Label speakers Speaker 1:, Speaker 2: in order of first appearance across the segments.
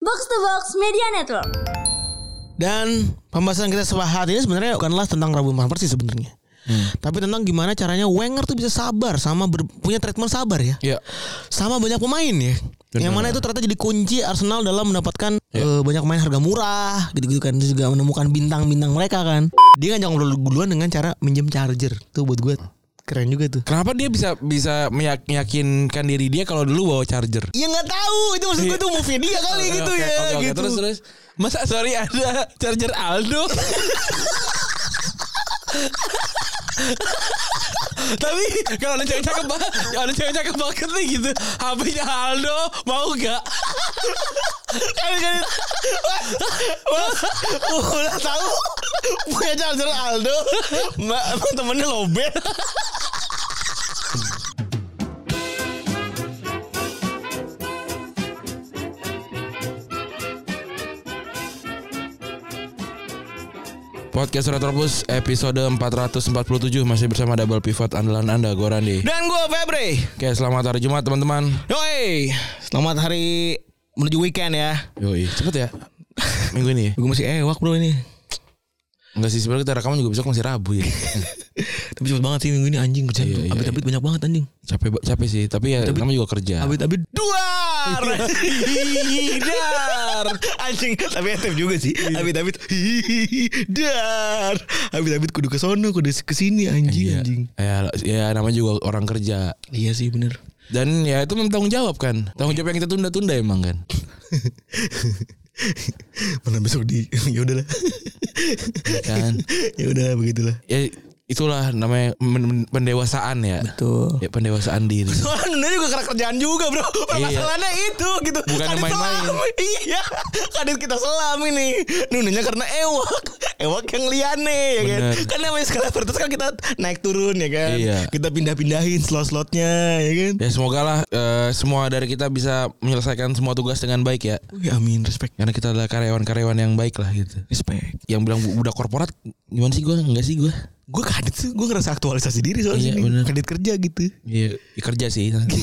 Speaker 1: Box to Box Media Network.
Speaker 2: Dan pembahasan kita sebuah hari ini sebenarnya bukanlah tentang Rabu Van sih sebenarnya.
Speaker 3: Hmm.
Speaker 2: Tapi tentang gimana caranya Wenger tuh bisa sabar sama ber- punya treatment sabar ya.
Speaker 3: Iya.
Speaker 2: Sama banyak pemain ya. Yang mana itu ternyata jadi kunci Arsenal dalam mendapatkan
Speaker 3: Ya.
Speaker 2: eh, banyak pemain harga murah gitu-gitu kan. Terus juga menemukan bintang-bintang mereka kan. Dia ngajak ngobrol duluan dengan cara minjem charger. Tuh buat gue keren juga tuh.
Speaker 3: Kenapa dia bisa bisa meyak- meyakinkan diri dia kalau dulu bawa charger?
Speaker 2: Ya nggak tahu itu maksud gue tuh movie dia kali
Speaker 3: Oke,
Speaker 2: gitu
Speaker 3: oke,
Speaker 2: ya
Speaker 3: oke, oke.
Speaker 2: gitu.
Speaker 3: Terus terus. Masa sorry ada charger Aldo? Tapi kalau ada cewek cakep banget, ada cewek cakep banget nih gitu. HP-nya Aldo mau gak?
Speaker 2: Udah tahu punya charger Aldo, mbak emang temennya lobet.
Speaker 3: Podcast Retropus episode 447 masih bersama double pivot andalan Anda gue Randi.
Speaker 2: Dan gue Febre.
Speaker 3: Oke, selamat hari Jumat teman-teman.
Speaker 2: Yoi, selamat hari menuju weekend ya.
Speaker 3: Yoi, cepet ya. Minggu ini ya.
Speaker 2: Gue masih ewak bro ini.
Speaker 3: Enggak sih sebenarnya kita rekaman juga besok masih Rabu ya.
Speaker 2: Tapi cepet banget sih minggu ini anjing kerjaan.
Speaker 3: Iya,
Speaker 2: tuh.
Speaker 3: iya,
Speaker 2: Abit-abit banyak banget anjing.
Speaker 3: capek ba- capek sih, tapi ya namanya juga kerja.
Speaker 2: Abit-abit dua. Hidar Anjing Tapi etem juga sih
Speaker 3: Iya.
Speaker 2: Abit-abit Hidar Abit-abit kudu ke sono Kudu ke sini anjing
Speaker 3: Iya.
Speaker 2: anjing
Speaker 3: Ya, ya namanya juga orang kerja.
Speaker 2: Iya sih bener
Speaker 3: Dan ya itu memang tanggung jawab kan. Tanggung jawab yang kita tunda-tunda emang kan.
Speaker 2: Mana besok di ya udahlah
Speaker 3: kan.
Speaker 2: ya udah begitulah
Speaker 3: Ya itulah namanya men- men- pendewasaan ya.
Speaker 2: Betul.
Speaker 3: Ya pendewasaan diri.
Speaker 2: Soalnya bener juga karena kerjaan juga bro Permasalahannya itu gitu
Speaker 3: Bukan yang
Speaker 2: Kadit
Speaker 3: Iya. main-main.
Speaker 2: selam. Iya Kadit kita selam ini Nundanya karena ewak Ewak yang liane ya kan
Speaker 3: Bener.
Speaker 2: Kan namanya skala prioritas kan kita naik turun ya kan
Speaker 3: Iya.
Speaker 2: Kita pindah-pindahin slot-slotnya ya kan
Speaker 3: Ya semoga lah eh, semua dari kita bisa menyelesaikan semua tugas dengan baik ya.
Speaker 2: Ya amin respect
Speaker 3: Karena kita adalah karyawan-karyawan yang baik lah gitu.
Speaker 2: Respect
Speaker 3: Yang bilang bu- budak korporat gimana sih gue? Enggak sih gue.
Speaker 2: Gue kadit sih Gue ngerasa aktualisasi diri
Speaker 3: Iya,
Speaker 2: soalnya sini.
Speaker 3: bener.
Speaker 2: Kadit kerja gitu
Speaker 3: Iya, ya kerja sih. Tapi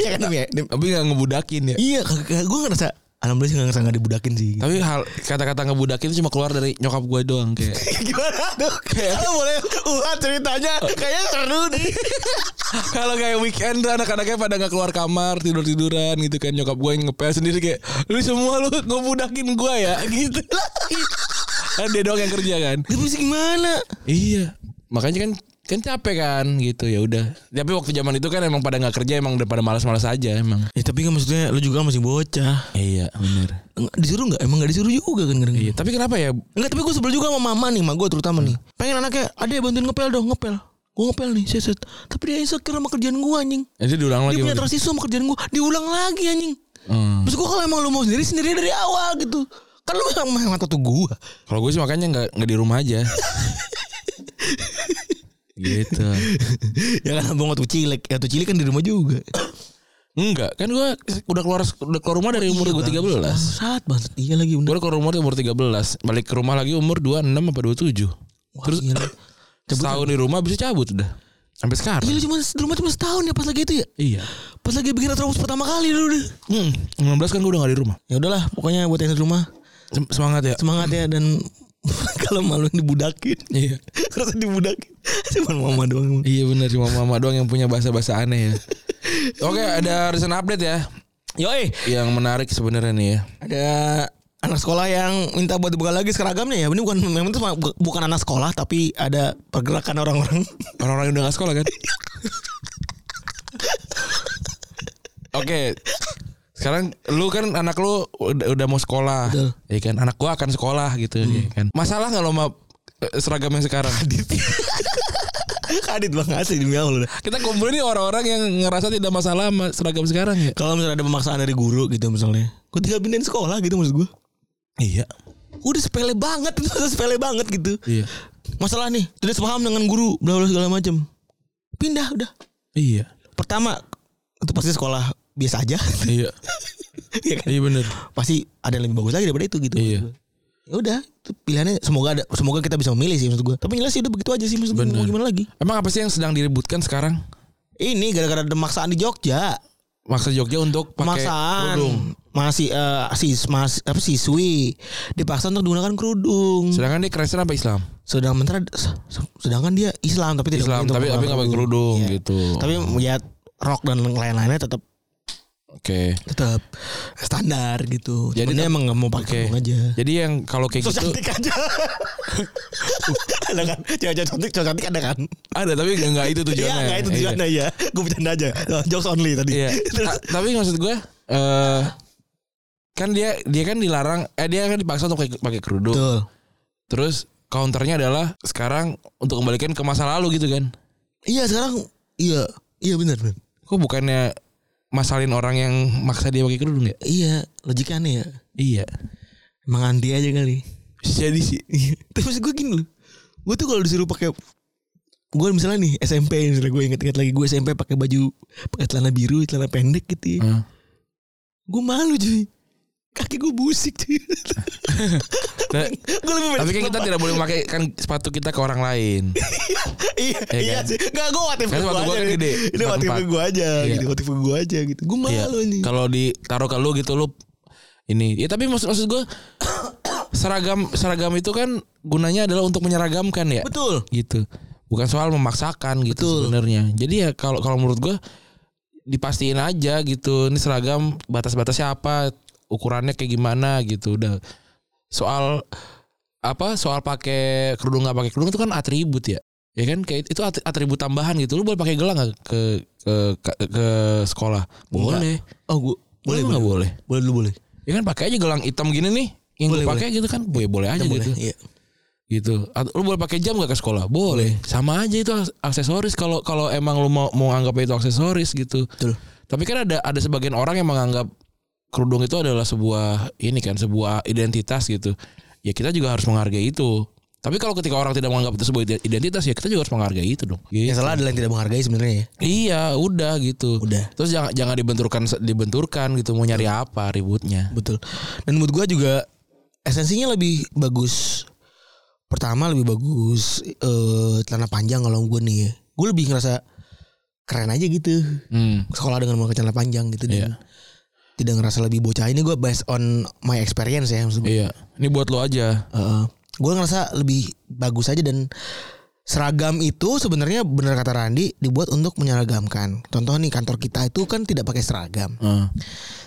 Speaker 2: Iya kan Dim, ya Dim?
Speaker 3: nggak ngebudakin ya.
Speaker 2: Iya gue ngerasa Alhamdulillah sih gak ngerasa gak dibudakin sih gitu.
Speaker 3: Tapi hal kata-kata ngebudakin itu cuma keluar dari nyokap gue doang kayak.
Speaker 2: Gimana tuh? Kalau boleh ulang ceritanya
Speaker 3: Oh.
Speaker 2: Kayaknya seru nih
Speaker 3: Kalau kayak weekend tuh anak-anaknya pada nggak keluar kamar tidur tiduran gitu kan nyokap gue yang ngepel sendiri kayak lu semua lu ngebudakin gue ya gitu. kan dia doang yang kerja kan.
Speaker 2: Tapi mesti gimana?
Speaker 3: Iya. Makanya kan kan capek kan gitu ya udah. Tapi waktu zaman itu kan emang pada nggak kerja emang udah pada malas-malas aja emang.
Speaker 2: Ya tapi kan maksudnya lu juga masih bocah.
Speaker 3: Iya benar.
Speaker 2: Nggak, disuruh nggak? Emang nggak disuruh juga kan kadang
Speaker 3: Iya tapi kenapa ya?
Speaker 2: Enggak tapi gue sebel juga sama mama nih, sama gue terutama nih.
Speaker 3: Hmm.
Speaker 2: Pengen anaknya, ada bantuin ngepel dong, ngepel. Gue ngepel nih, set, set. Tapi dia insecure sama kerjaan gue anjing.
Speaker 3: Itu
Speaker 2: Dia
Speaker 3: diulang lagi.
Speaker 2: punya
Speaker 3: berarti.
Speaker 2: trust issue sama kerjaan gue, diulang lagi anjing.
Speaker 3: Hmm.
Speaker 2: Terus gue kalau emang lu mau sendiri, sendiri dari awal gitu. Kan lu yang mata tuh gue.
Speaker 3: Kalau gue sih makanya nggak nggak di rumah aja. gitu.
Speaker 2: ya kan abang waktu cilik, waktu cilik kan di rumah juga.
Speaker 3: Enggak, kan gue udah keluar udah keluar rumah dari umur gue 13.
Speaker 2: Saat banget, iya lagi bener.
Speaker 3: Gue keluar rumah di umur 13 Balik ke rumah lagi umur 26 apa 27 Terus
Speaker 2: iya lagi.
Speaker 3: setahun di rumah bisa cabut udah Sampai sekarang
Speaker 2: Iya lu cuma di rumah cuma setahun ya pas lagi itu ya.
Speaker 3: Iya
Speaker 2: Pas lagi bikin retrobus pertama kali dulu deh.
Speaker 3: hmm, 16 kan gue udah gak di rumah
Speaker 2: Ya udahlah, pokoknya buat yang di rumah
Speaker 3: Sem- Semangat ya
Speaker 2: semangat ya dan kalau malu dibudakin.
Speaker 3: Iya
Speaker 2: Rasa dibudakin. Cuman mama doang.
Speaker 3: Iya bener cuma mama doang yang punya bahasa-bahasa aneh ya Oke ada recent update ya
Speaker 2: Yoi,
Speaker 3: Yang menarik sebenarnya nih ya
Speaker 2: ada Iya, anak sekolah yang minta buat dibuka lagi seragamnya ya. Ini bukan memang itu bukan- bukan anak sekolah tapi ada pergerakan orang-orang.
Speaker 3: Orang-orang yang udah gak sekolah kan Oke sekarang lu kan anak lu udah, udah mau sekolah
Speaker 2: Betul.
Speaker 3: ya kan anak gua akan sekolah gitu ya kan masalah nggak lo sama eh, seragam yang sekarang
Speaker 2: Kadit banget sih demi Allah.
Speaker 3: kita kumpulin nih orang-orang yang ngerasa tidak masalah sama seragam sekarang ya
Speaker 2: Kalau misalnya ada pemaksaan dari guru gitu misalnya. Gue tinggal pindahin sekolah gitu maksud gue.
Speaker 3: iya
Speaker 2: Udah sepele banget, itu sepele banget gitu.
Speaker 3: iya
Speaker 2: Masalah nih, tidak sepaham dengan guru, bla bla segala macam. Pindah udah.
Speaker 3: iya
Speaker 2: pertama itu pasti sekolah biasa aja
Speaker 3: iya
Speaker 2: Iya kan?
Speaker 3: iya bener
Speaker 2: pasti ada yang lebih bagus lagi daripada itu gitu
Speaker 3: Iya.
Speaker 2: ya udah itu pilihannya semoga ada semoga kita bisa memilih sih maksud gue tapi jelas sih udah begitu aja sih maksud gue mau
Speaker 3: Bener.
Speaker 2: gimana lagi
Speaker 3: emang apa sih yang sedang diributkan sekarang
Speaker 2: ini gara-gara ada maksaan di Jogja
Speaker 3: maksa Jogja untuk pakai
Speaker 2: Pemaksaan
Speaker 3: kerudung.
Speaker 2: masih eh, sis mas apa siswi dipaksa untuk menggunakan kerudung.
Speaker 3: Sedangkan dia Kristen apa Islam?
Speaker 2: Sedangkan mentera, sedangkan dia Islam tapi tidak
Speaker 3: Islam,
Speaker 2: mungkin
Speaker 3: tapi
Speaker 2: untuk
Speaker 3: tapi nggak pakai kerudung
Speaker 2: Iya.
Speaker 3: gitu.
Speaker 2: Tapi ya rok dan lain-lainnya tetap
Speaker 3: Oke.
Speaker 2: tetap standar gitu.
Speaker 3: Jadi
Speaker 2: Jadi dia
Speaker 3: tetap-
Speaker 2: emang nggak mau pakai
Speaker 3: Oke.
Speaker 2: kerudung aja.
Speaker 3: Jadi yang kalau kayak
Speaker 2: So
Speaker 3: gitu
Speaker 2: cantik aja. ada kan? Cewek-cewek cantik, cewek cantik ada kan?
Speaker 3: ada tapi nggak- nggak itu
Speaker 2: Iya,
Speaker 3: tujuannya.
Speaker 2: nggak itu tujuannya ya. Gue bercanda aja. Oh, Jokes only tadi.
Speaker 3: Iya.
Speaker 2: Terus,
Speaker 3: Ta- tapi maksud gue eh kan dia dia kan dilarang eh dia kan dipaksa untuk pakai- pakai kerudung.
Speaker 2: betul.
Speaker 3: Terus counternya adalah sekarang untuk kembalikan ke masa lalu gitu kan.
Speaker 2: Iya sekarang, iya, iya benar benar.
Speaker 3: Kok bukannya masalin orang yang maksa dia pakai kerudung ya?
Speaker 2: Iya, logiknya aneh ya.
Speaker 3: Iya.
Speaker 2: Emang anti aja kali.
Speaker 3: Jadi sih.
Speaker 2: Iya. Tapi maksud gue gini loh. Gue tuh kalau disuruh pakai gue misalnya nih SMP misalnya gue inget-inget lagi gue SMP pakai baju pakai celana biru celana pendek gitu ya.
Speaker 3: Heeh.
Speaker 2: gue malu cuy kaki gue busik cuy
Speaker 3: Nah,
Speaker 2: gue lebih
Speaker 3: tapi kan kita tidak boleh memakai kan sepatu kita ke orang lain.
Speaker 2: iya,
Speaker 3: Iya
Speaker 2: iya
Speaker 3: kan?
Speaker 2: sih nggak gue watif
Speaker 3: Kan
Speaker 2: gue
Speaker 3: sepatu
Speaker 2: aja
Speaker 3: gua kan
Speaker 2: nih.
Speaker 3: gede,
Speaker 2: ini
Speaker 3: empat
Speaker 2: watif
Speaker 3: empat.
Speaker 2: gue aja
Speaker 3: Iya.
Speaker 2: gitu watif gue aja gitu gue
Speaker 3: Iya.
Speaker 2: malu nih
Speaker 3: Kalau ditaruh ke lu gitu lu ini. Ya tapi maksud maksud gue seragam seragam itu kan gunanya adalah untuk menyeragamkan ya.
Speaker 2: betul
Speaker 3: Gitu. Bukan soal memaksakan
Speaker 2: Betul.
Speaker 3: gitu sebenarnya. Jadi ya kalau kalau menurut gue dipastiin aja gitu. Ini seragam batas-batasnya apa, ukurannya kayak gimana gitu. Udah soal apa soal pakai kerudung nggak pakai kerudung itu kan atribut ya ya kan kayak itu at- atribut tambahan gitu lu boleh pakai gelang nggak ke, ke ke ke sekolah boleh
Speaker 2: oh gue boleh
Speaker 3: boleh nggak boleh
Speaker 2: boleh lu boleh
Speaker 3: ya kan pakai aja gelang hitam gini nih yang
Speaker 2: Boleh,
Speaker 3: gue pakai gitu kan boleh boleh aja
Speaker 2: Ya, boleh
Speaker 3: gitu
Speaker 2: iya.
Speaker 3: gitu Atau lu boleh pakai jam nggak ke sekolah boleh sama aja itu as- aksesoris kalau kalau emang lu mau mau anggapnya itu aksesoris gitu
Speaker 2: betul
Speaker 3: tapi kan ada ada sebagian orang yang menganggap kerudung itu adalah sebuah ini kan sebuah identitas gitu. Ya kita juga harus menghargai itu. Tapi kalau ketika orang tidak menganggap itu sebuah ide- identitas ya kita juga harus menghargai itu dong. Gitu.
Speaker 2: yang salah adalah yang tidak menghargai sebenarnya ya
Speaker 3: Iya, udah gitu.
Speaker 2: Udah.
Speaker 3: Terus jangan jangan dibenturkan dibenturkan gitu mau nyari apa ributnya.
Speaker 2: betul dan menurut gue juga esensinya lebih bagus pertama lebih bagus eh celana panjang kalau gue nih ya. gue lebih ngerasa keren aja gitu
Speaker 3: Hmm.
Speaker 2: sekolah dengan memakai celana panjang gitu
Speaker 3: Iya.
Speaker 2: dan tidak ngerasa lebih bocah ini gue based on my experience ya maksud gua.
Speaker 3: Iya. Ini buat lo aja.
Speaker 2: gue ngerasa lebih bagus aja dan seragam itu sebenarnya bener kata Randi dibuat untuk menyeragamkan contoh nih kantor kita itu kan tidak pakai seragam
Speaker 3: Heeh.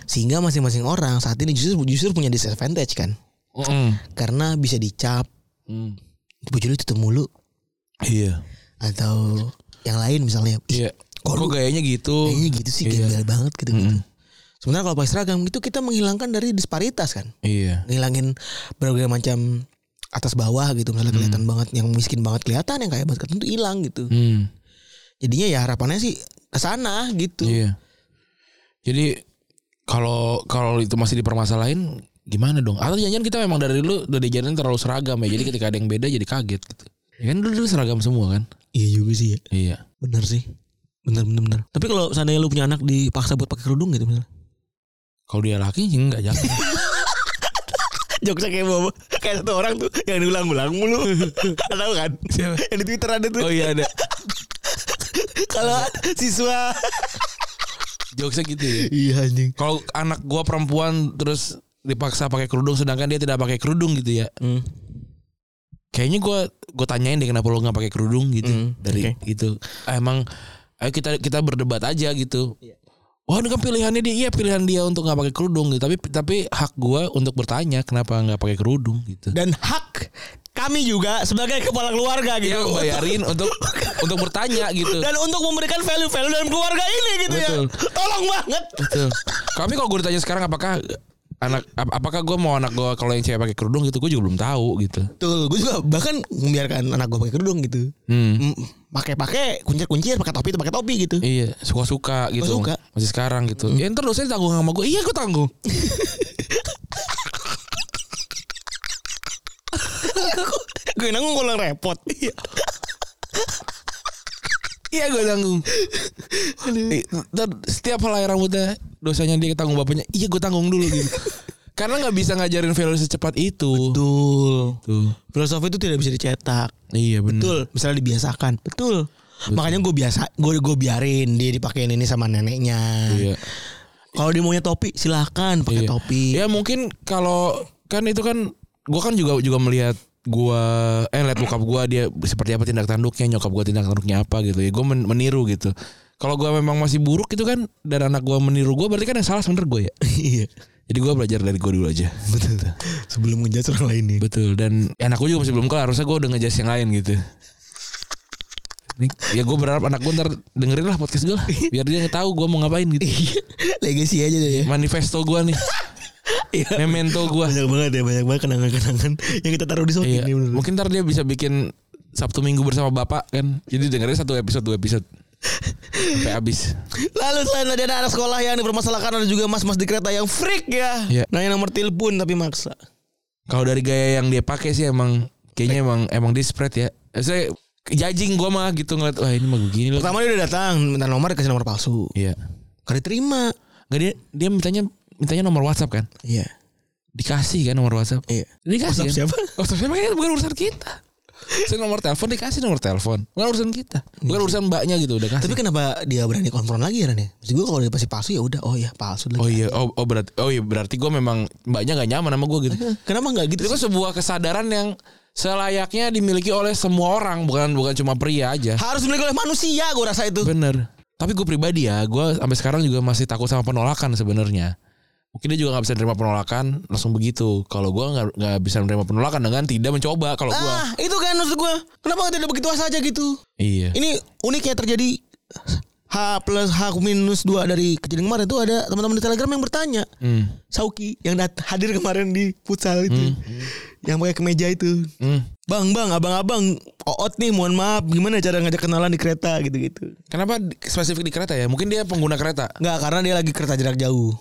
Speaker 2: sehingga masing-masing orang saat ini justru justru punya disadvantage kan karena bisa dicap
Speaker 3: Hmm.
Speaker 2: baju lu tutup mulu
Speaker 3: Iya.
Speaker 2: atau yang lain misalnya Ih,
Speaker 3: Iya. Kok,
Speaker 2: lu-
Speaker 3: gayanya gitu?
Speaker 2: kayaknya gitu sih
Speaker 3: Iya.
Speaker 2: gembel banget gitu gitu sebenarnya kalau pakai seragam itu kita menghilangkan dari disparitas kan
Speaker 3: Iya.
Speaker 2: ngilangin berbagai macam atas bawah gitu misalnya kelihatan banget yang miskin banget kelihatan yang kaya banget kelihatan tuh hilang gitu
Speaker 3: Hmm.
Speaker 2: jadinya ya harapannya sih ke sana gitu
Speaker 3: Iya. Jadi kalau kalau itu masih dipermasalahin gimana dong? Atau jangan kita memang dari dulu udah diajarin terlalu seragam ya. Jadi ketika ada yang beda jadi kaget gitu. Ya kan dulu, dulu seragam semua kan?
Speaker 2: iya juga sih ya
Speaker 3: Iya.
Speaker 2: benar sih benar benar benar tapi kalau seandainya lu punya anak dipaksa buat pakai kerudung gitu misalnya
Speaker 3: Kalau dia laki sih enggak jangan.
Speaker 2: Jokesnya kayak bawa kayak satu orang tuh yang diulang-ulang mulu. Tahu kan?
Speaker 3: Siapa?
Speaker 2: Yang di Twitter ada tuh.
Speaker 3: Oh iya ada.
Speaker 2: Kalau siswa
Speaker 3: Jokesnya gitu. Ya.
Speaker 2: Iya anjing.
Speaker 3: Kalau anak gua perempuan terus dipaksa pakai kerudung sedangkan dia tidak pakai kerudung gitu ya.
Speaker 2: Hmm.
Speaker 3: Kayaknya gua gua tanyain deh kenapa lo nggak pakai kerudung gitu
Speaker 2: Hmm,
Speaker 3: dari gitu. Ah, Emang ayo kita kita berdebat aja gitu. Wah, ini kan pilihannya dia, iya pilihan dia untuk nggak pakai kerudung gitu. Tapi tapi hak gua untuk bertanya kenapa nggak pakai kerudung gitu.
Speaker 2: Dan hak kami juga sebagai kepala keluarga gitu.
Speaker 3: Dia Iya, bayarin untuk untuk bertanya gitu.
Speaker 2: Dan untuk memberikan value-value dalam keluarga ini gitu
Speaker 3: Betul.
Speaker 2: ya. Tolong banget.
Speaker 3: Betul. Gitu. Kami kalau gue ditanya sekarang apakah anak ap- apakah gua mau anak gua kalau yang cewek pakai kerudung gitu, gue juga belum tahu gitu.
Speaker 2: Betul, gue juga bahkan membiarkan anak gue pakai kerudung gitu.
Speaker 3: Hmm.
Speaker 2: Mm, Pakai-pakai, kuncir-kuncir, pakai topi pakai topi gitu.
Speaker 3: Iya, suka-suka gitu.
Speaker 2: Suka-suka.
Speaker 3: Masih sekarang gitu. Ya ntar dosennya tanggung sama gue. Iya, gue tanggung.
Speaker 2: gue nanggung ngulang repot. Iya.
Speaker 3: Iya, gue tanggung. I- Ntar setiap helai rambutnya dosanya dia tanggung bapaknya. Iya, gue tanggung dulu gitu. Karena nggak bisa ngajarin value secepat itu.
Speaker 2: Betul.
Speaker 3: Tuh.
Speaker 2: Filosofi itu tidak bisa dicetak.
Speaker 3: Iya benar.
Speaker 2: Betul, misalnya dibiasakan. Betul. Makanya gue biasa gue gue biarin dia dipakein ini sama neneknya.
Speaker 3: Iya.
Speaker 2: Kalau dia maunya topi silahkan pakai
Speaker 3: Iya.
Speaker 2: topi.
Speaker 3: Ya mungkin kalau kan itu kan gua kan juga juga melihat gua eh lihat bokap gua dia seperti apa tindak tanduknya nyokap gua tindak tanduknya apa gitu ya gua men- meniru gitu. Kalau gua memang masih buruk itu kan dan anak gua meniru gua berarti kan yang salah sebenernya gua ya.
Speaker 2: Iya.
Speaker 3: Jadi gua belajar dari gua dulu aja.
Speaker 2: Betul. Sebelum ngejudge orang lain nih.
Speaker 3: Betul dan ya, anak gue juga masih belum kelar harusnya gue udah ngejas yang lain gitu. Ini- Ya gue berharap anak gue ntar dengerin lah podcast gue lah Biar dia tahu gue mau ngapain gitu
Speaker 2: Legacy aja deh ya.
Speaker 3: Manifesto gue nih Memento gue
Speaker 2: Banyak banget ya, banyak banget kenangan-kenangan yang kita taruh di
Speaker 3: iya.
Speaker 2: sokin nih bener.
Speaker 3: Mungkin ntar dia bisa bikin Sabtu minggu bersama bapak kan Jadi dengerin satu episode dua episode Sampai habis
Speaker 2: Lalu selain tadi ada anak sekolah yang dipermasalahkan ada juga mas-mas di kereta yang freak ya.
Speaker 3: Iya.
Speaker 2: Nanya nomor telepon tapi maksa.
Speaker 3: Kalau dari gaya yang dia pakai sih emang Kayaknya emang emang dia spread ya Saya judging gue mah gitu ngeliat Wah ini mah begini loh
Speaker 2: Pertama dia udah datang minta nomor dikasih nomor palsu.
Speaker 3: Iya
Speaker 2: Gak diterima.
Speaker 3: Gak dia, dia mintanya mintanya nomor WhatsApp kan
Speaker 2: Iya.
Speaker 3: dikasih kan nomor WhatsApp.
Speaker 2: Iya.
Speaker 3: Dikasih
Speaker 2: WhatsApp
Speaker 3: kan?
Speaker 2: siapa?
Speaker 3: WhatsApp siapa kan bukan urusan kita. Saya nomor telepon dikasih nomor telepon. Bukan urusan kita. Bukan urusan mbaknya gitu udah kasih.
Speaker 2: Tapi kan- kenapa dia berani konfront lagi ya Ran ya? Maksud gue kalau dia pasti palsu ya udah, oh iya palsu lagi.
Speaker 3: oh iya, oh, oh berarti oh iya berarti gue memang mbaknya gak nyaman sama gue gitu.
Speaker 2: Kenapa nggak gitu?
Speaker 3: Itu kan sebuah kesadaran yang selayaknya dimiliki oleh semua orang, bukan bukan cuma pria aja.
Speaker 2: Harus dimiliki oleh manusia gue rasa itu.
Speaker 3: Bener. Tapi gue pribadi ya, gue sampai sekarang juga masih takut sama penolakan sebenarnya. Mungkin dia juga nggak bisa nerima penolakan langsung begitu. Kalau gue nggak nggak bisa nerima penolakan dengan tidak mencoba. Kalau gue,
Speaker 2: Ah, itu kan maksud gue. Kenapa nggak tidak begitu saja gitu?
Speaker 3: iya.
Speaker 2: Ini unik ya terjadi H plus H minus 2 dari kejadian kemarin itu ada teman-teman di Telegram yang bertanya.
Speaker 3: Hmm.
Speaker 2: Sauki yang dat- hadir kemarin di futsal itu. Yang pakai kemeja itu.
Speaker 3: Hmm.
Speaker 2: Bang, bang, abang-abang, oot nih, mohon maaf, gimana cara ngajak kenalan di kereta gitu-gitu.
Speaker 3: Kenapa di- spesifik di kereta ya? Mungkin dia pengguna kereta.
Speaker 2: Nggak, karena dia lagi kereta jarak jauh.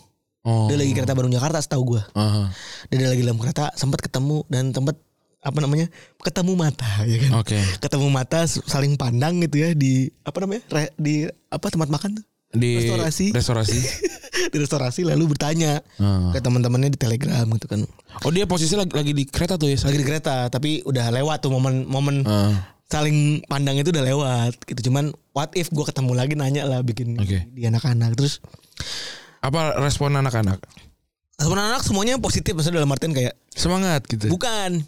Speaker 3: Oh.
Speaker 2: Dia lagi kereta Bandung Jakarta setahu gua.
Speaker 3: Aha.
Speaker 2: Dan dia lagi dalam kereta sempat ketemu dan tempat apa namanya? ketemu mata ya kan.
Speaker 3: Oke.
Speaker 2: Ketemu mata s- saling pandang gitu ya di apa namanya? re- di apa tempat makan tuh?
Speaker 3: Di
Speaker 2: Restorasi.
Speaker 3: Restorasi.
Speaker 2: di restorasi lalu bertanya
Speaker 3: Ah.
Speaker 2: ke teman-temannya di Telegram gitu kan.
Speaker 3: Oh dia posisinya lagi, lagi di kereta tuh ya?
Speaker 2: Lagi di kereta tapi udah lewat tuh momen-momen
Speaker 3: Ah.
Speaker 2: saling pandang itu udah lewat gitu. Cuman what if gua ketemu lagi nanya lah bikin
Speaker 3: Oke.
Speaker 2: di anak-anak terus
Speaker 3: Apa respon anak-anak?
Speaker 2: teman anak semuanya positif maksudnya dalam artian kayak
Speaker 3: Semangat gitu.
Speaker 2: Bukan.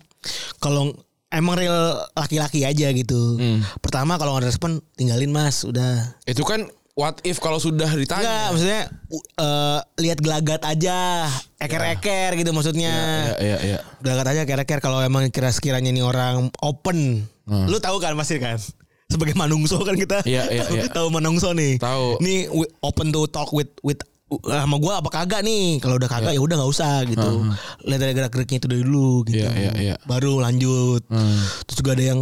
Speaker 2: Kalau emang real laki-laki aja gitu. Pertama kalau nggak ada respon tinggalin mas, udah.
Speaker 3: Itu kan what if kalau sudah
Speaker 2: Enggak,
Speaker 3: ditanya.
Speaker 2: maksudnya u- eh, lihat gelagat aja, eker-eker gitu maksudnya.
Speaker 3: Iya, iya, iya.
Speaker 2: Gelagat aja eker-eker kalau emang kira sekiranya ini orang open.
Speaker 3: Hmm.
Speaker 2: Lu tahu kan pasti kan? Sebagai manungso kan kita
Speaker 3: Iya, iya,
Speaker 2: tahu,
Speaker 3: iya.
Speaker 2: tahu manungso nih.
Speaker 3: Tahu.
Speaker 2: Nih we- open to talk with with uh, sama gua apa kagak nih? Kalau udah kagak
Speaker 3: Iya.
Speaker 2: ya udah nggak usah gitu. Lihat ada gerak-geriknya itu dari dulu gitu.
Speaker 3: Hmm, Iya, iya, Hmm. iya.
Speaker 2: Baru lanjut. Terus juga ada yang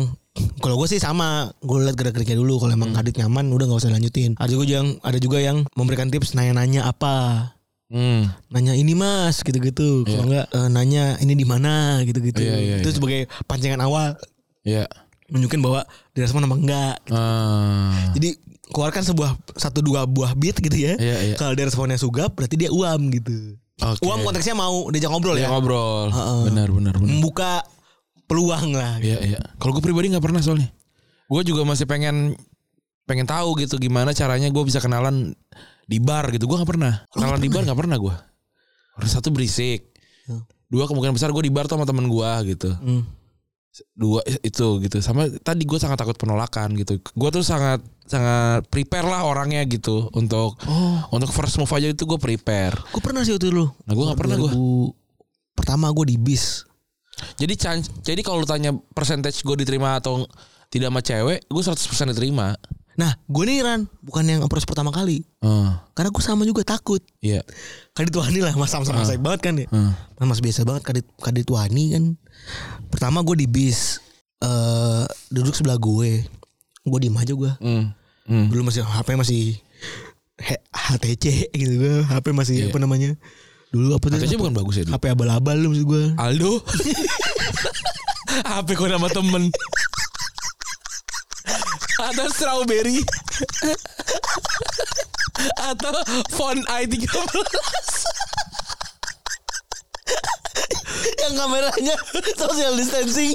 Speaker 2: kalau gue sih sama, gue lihat gerak-geriknya dulu. Kalau
Speaker 3: Hmm.
Speaker 2: emang kadit nyaman, udah nggak usah lanjutin. Ada juga yang ada juga yang memberikan tips nanya-nanya apa,
Speaker 3: Hmm.
Speaker 2: nanya ini mas, gitu-gitu. Kalau nggak eh, nanya ini di mana, gitu-gitu.
Speaker 3: Iya, iya,
Speaker 2: Itu
Speaker 3: iya.
Speaker 2: sebagai pancingan awal
Speaker 3: Iya.
Speaker 2: nunjukin bahwa direspon apa enggak.
Speaker 3: Ah.
Speaker 2: Jadi keluarkan sebuah satu dua buah beat gitu ya.
Speaker 3: Iya, iya.
Speaker 2: Kalau dia responnya sugap, berarti dia uam gitu.
Speaker 3: Oke. Iya,
Speaker 2: Uam konteksnya mau diajak ngobrol ya,
Speaker 3: Dia ngobrol. Benar, benar, benar.
Speaker 2: membuka peluang lah. gitu.
Speaker 3: Iya iya. Kalau gue pribadi nggak pernah soalnya. Gue juga masih pengen pengen tahu gitu gimana caranya gue bisa kenalan di bar gitu. Gue nggak pernah. Kenalan di bar nggak pernah Iya. gue. Orang satu berisik.
Speaker 2: Hmm.
Speaker 3: Dua kemungkinan besar gue di bar tuh sama temen gue gitu.
Speaker 2: Hmm.
Speaker 3: Dua itu gitu. Sama tadi gue sangat takut penolakan gitu. Gue tuh sangat sangat prepare lah orangnya gitu untuk
Speaker 2: Oh,
Speaker 3: untuk first move aja itu gue prepare.
Speaker 2: gue pernah sih waktu dulu.
Speaker 3: Nah gue nggak pernah gue.
Speaker 2: 2000 Pertama gue di bis.
Speaker 3: Jadi chance, jadi kalau lu tanya percentage gue diterima atau tidak sama cewek, gue 100% diterima.
Speaker 2: Nah, gue nih Ran, bukan yang approach pertama kali.
Speaker 3: Heeh.
Speaker 2: Karena gue sama juga takut.
Speaker 3: Iya. Hmm.
Speaker 2: Kadit Wani lah, mas
Speaker 3: Ah.
Speaker 2: sama-sama saya banget kan ya.
Speaker 3: Heeh.
Speaker 2: Mas biasa banget kadit, kadit Wani kan. Pertama gue di bis. eh duduk sebelah gue. Gue diem aja gue.
Speaker 3: Hmm. Hmm.
Speaker 2: Belum masih HP masih he- HTC gitu gue. HP masih apa namanya. Dulu apa tuh?
Speaker 3: Katanya bukan bagus ya.
Speaker 2: HP abal-abal lu maksud gue.
Speaker 3: Aldo. HP gue nama temen. Atau strawberry. Atau font i13.
Speaker 2: yang kameranya social distancing.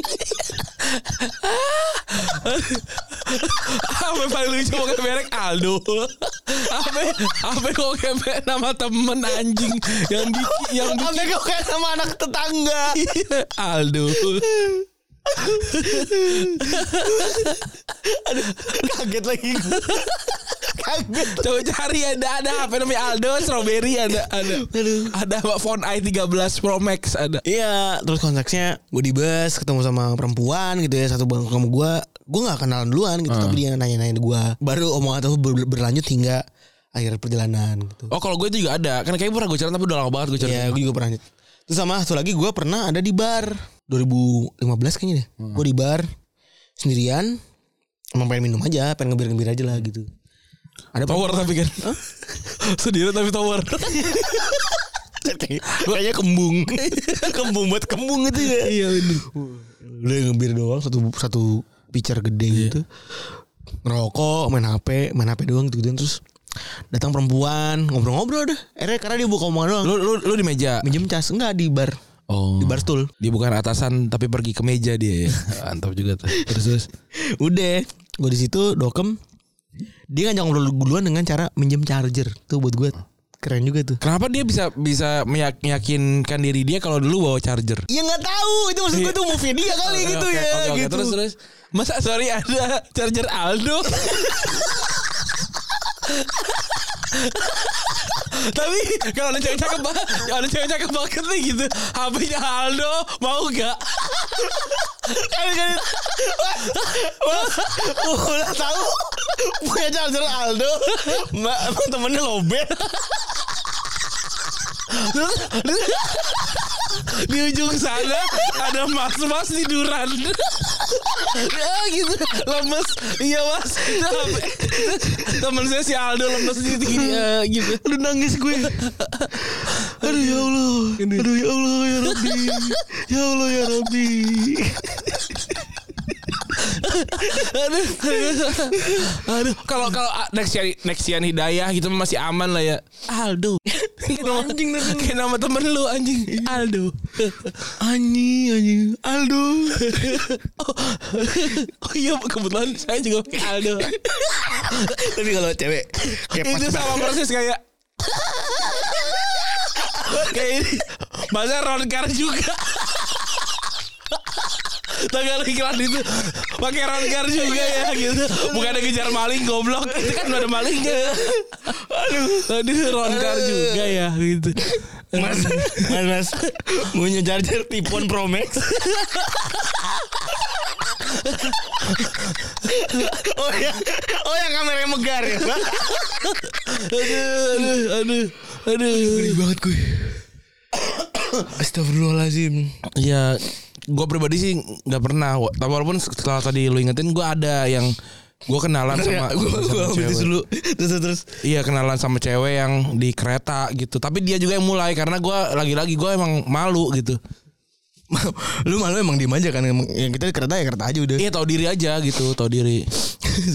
Speaker 3: Apa yang paling lucu pakai merek Aldo? Apa apa yang pakai merek nama temen anjing yang bikin yang bikin
Speaker 2: Sampai gue kayak sama anak tetangga.
Speaker 3: Iya, Aldo.
Speaker 2: Kaget lagi. gua. Kaget.
Speaker 3: Coba cari ada ada apa namanya Aldo strawberry ada ada. Ada Mbak Phone i13 Pro Max ada.
Speaker 2: Iya, terus konteksnya gue di bus ketemu sama perempuan gitu ya satu bangku sama gue, gue nggak kenalan duluan gitu, tapi dia nanya-nanya gue. Baru omongan itu ber- berlanjut hingga akhir perjalanan gitu.
Speaker 3: Oh kalau gue itu juga ada. Kan kayaknya pernah gue cerita tapi udah lama banget gue cerita.
Speaker 2: Iya, gue juga pernah. Terus sama satu lagi gue pernah ada di bar 2015 kayaknya deh. Gue di bar sendirian, emang pengen minum aja, pengen ngebir-ngebir aja lah gitu. Ada
Speaker 3: Tower tapi kan. Sendiri tapi tower.
Speaker 2: Kayaknya kembung Kembung buat kembung itu ya Iya bener Udah ngebir doang Satu satu pitcher gede
Speaker 3: Iya.
Speaker 2: gitu Ngerokok Main HP Main HP doang gitu gitu. Terus Datang perempuan Ngobrol-ngobrol dah Akhirnya karena dia buka omongan doang
Speaker 3: Lu lu lu di meja.
Speaker 2: Minjem cas Enggak di bar
Speaker 3: Oh.
Speaker 2: Di bar stool
Speaker 3: Dia bukan atasan tapi pergi ke meja dia ya. Antap juga tuh. Terus terus.
Speaker 2: Udah Gue di situ Dokem Dia ngajak ngobrol duluan Dengan cara Minjem charger Tuh buat gue Keren juga tuh
Speaker 3: Kenapa dia bisa bisa meyak- meyakinkan diri dia kalau dulu bawa charger?
Speaker 2: Ya nggak tahu Itu maksud gue tuh movie dia kali
Speaker 3: Iya. Oke,
Speaker 2: gitu
Speaker 3: oke,
Speaker 2: ya
Speaker 3: oke, oke.
Speaker 2: gitu.
Speaker 3: Terus terus. Masa sorry ada charger Aldo. Tapi kalau ada cewek cakep banget, ada cewek cakep banget nih gitu. HP-nya Aldo mau gak?
Speaker 2: Udah tahu punya charger Aldo, mbak emang temennya lobet.
Speaker 3: Di ujung sana ada mas-mas tiduran. ya gitu, lemes. Iya mas. Itu HP. Temen saya si Aldo lemes gitu. gini, eh, gitu.
Speaker 2: Aduh nangis gue. Aduh ya Allah. Aduh ya Allah ya Rabbi. Ya Allah ya Rabbi.
Speaker 3: aduh, aduh, aduh. Kalau kalau ah, Nexian Nexian Hidayah gitu masih aman lah ya. Aldo. anjing Kayak nama temen lu anjing. Aldo.
Speaker 2: Anjing anjing Aldo.
Speaker 3: oh, oh iya kebetulan saya juga pakai Aldo.
Speaker 2: Tapi kalau cewek kayak
Speaker 3: Itu sama persis kayak kayak ini. Masa Ron Car juga. Tapi ada iklan itu pakai Ron Car juga ya gitu. Bukan ada kejar maling goblok. Itu kan udah ada malingnya. Aduh, aduh Ron Car juga ya gitu.
Speaker 2: Mas, mas, mas, punya charger tipon Pro Max. oh ya, oh yang kameranya megar ya.
Speaker 3: Aduh, aduh, aduh.
Speaker 2: Geli banget gue. Astagfirullahalazim.
Speaker 3: Ya, gue pribadi sih nggak pernah. Wa- Tapi walaupun setelah tadi lu ingetin, gue ada yang gue kenalan sama,
Speaker 2: gue
Speaker 3: sama
Speaker 2: gue
Speaker 3: cewek.
Speaker 2: Ya, ambil dulu. Terus terus.
Speaker 3: Iya kenalan sama cewek yang di kereta gitu. Tapi dia juga yang mulai karena gua lagi-lagi gua emang malu gitu.
Speaker 2: Lu malu emang diem aja kan emang- yang kita di kereta ya kereta aja udah.
Speaker 3: Iya tahu diri aja gitu, tahu diri.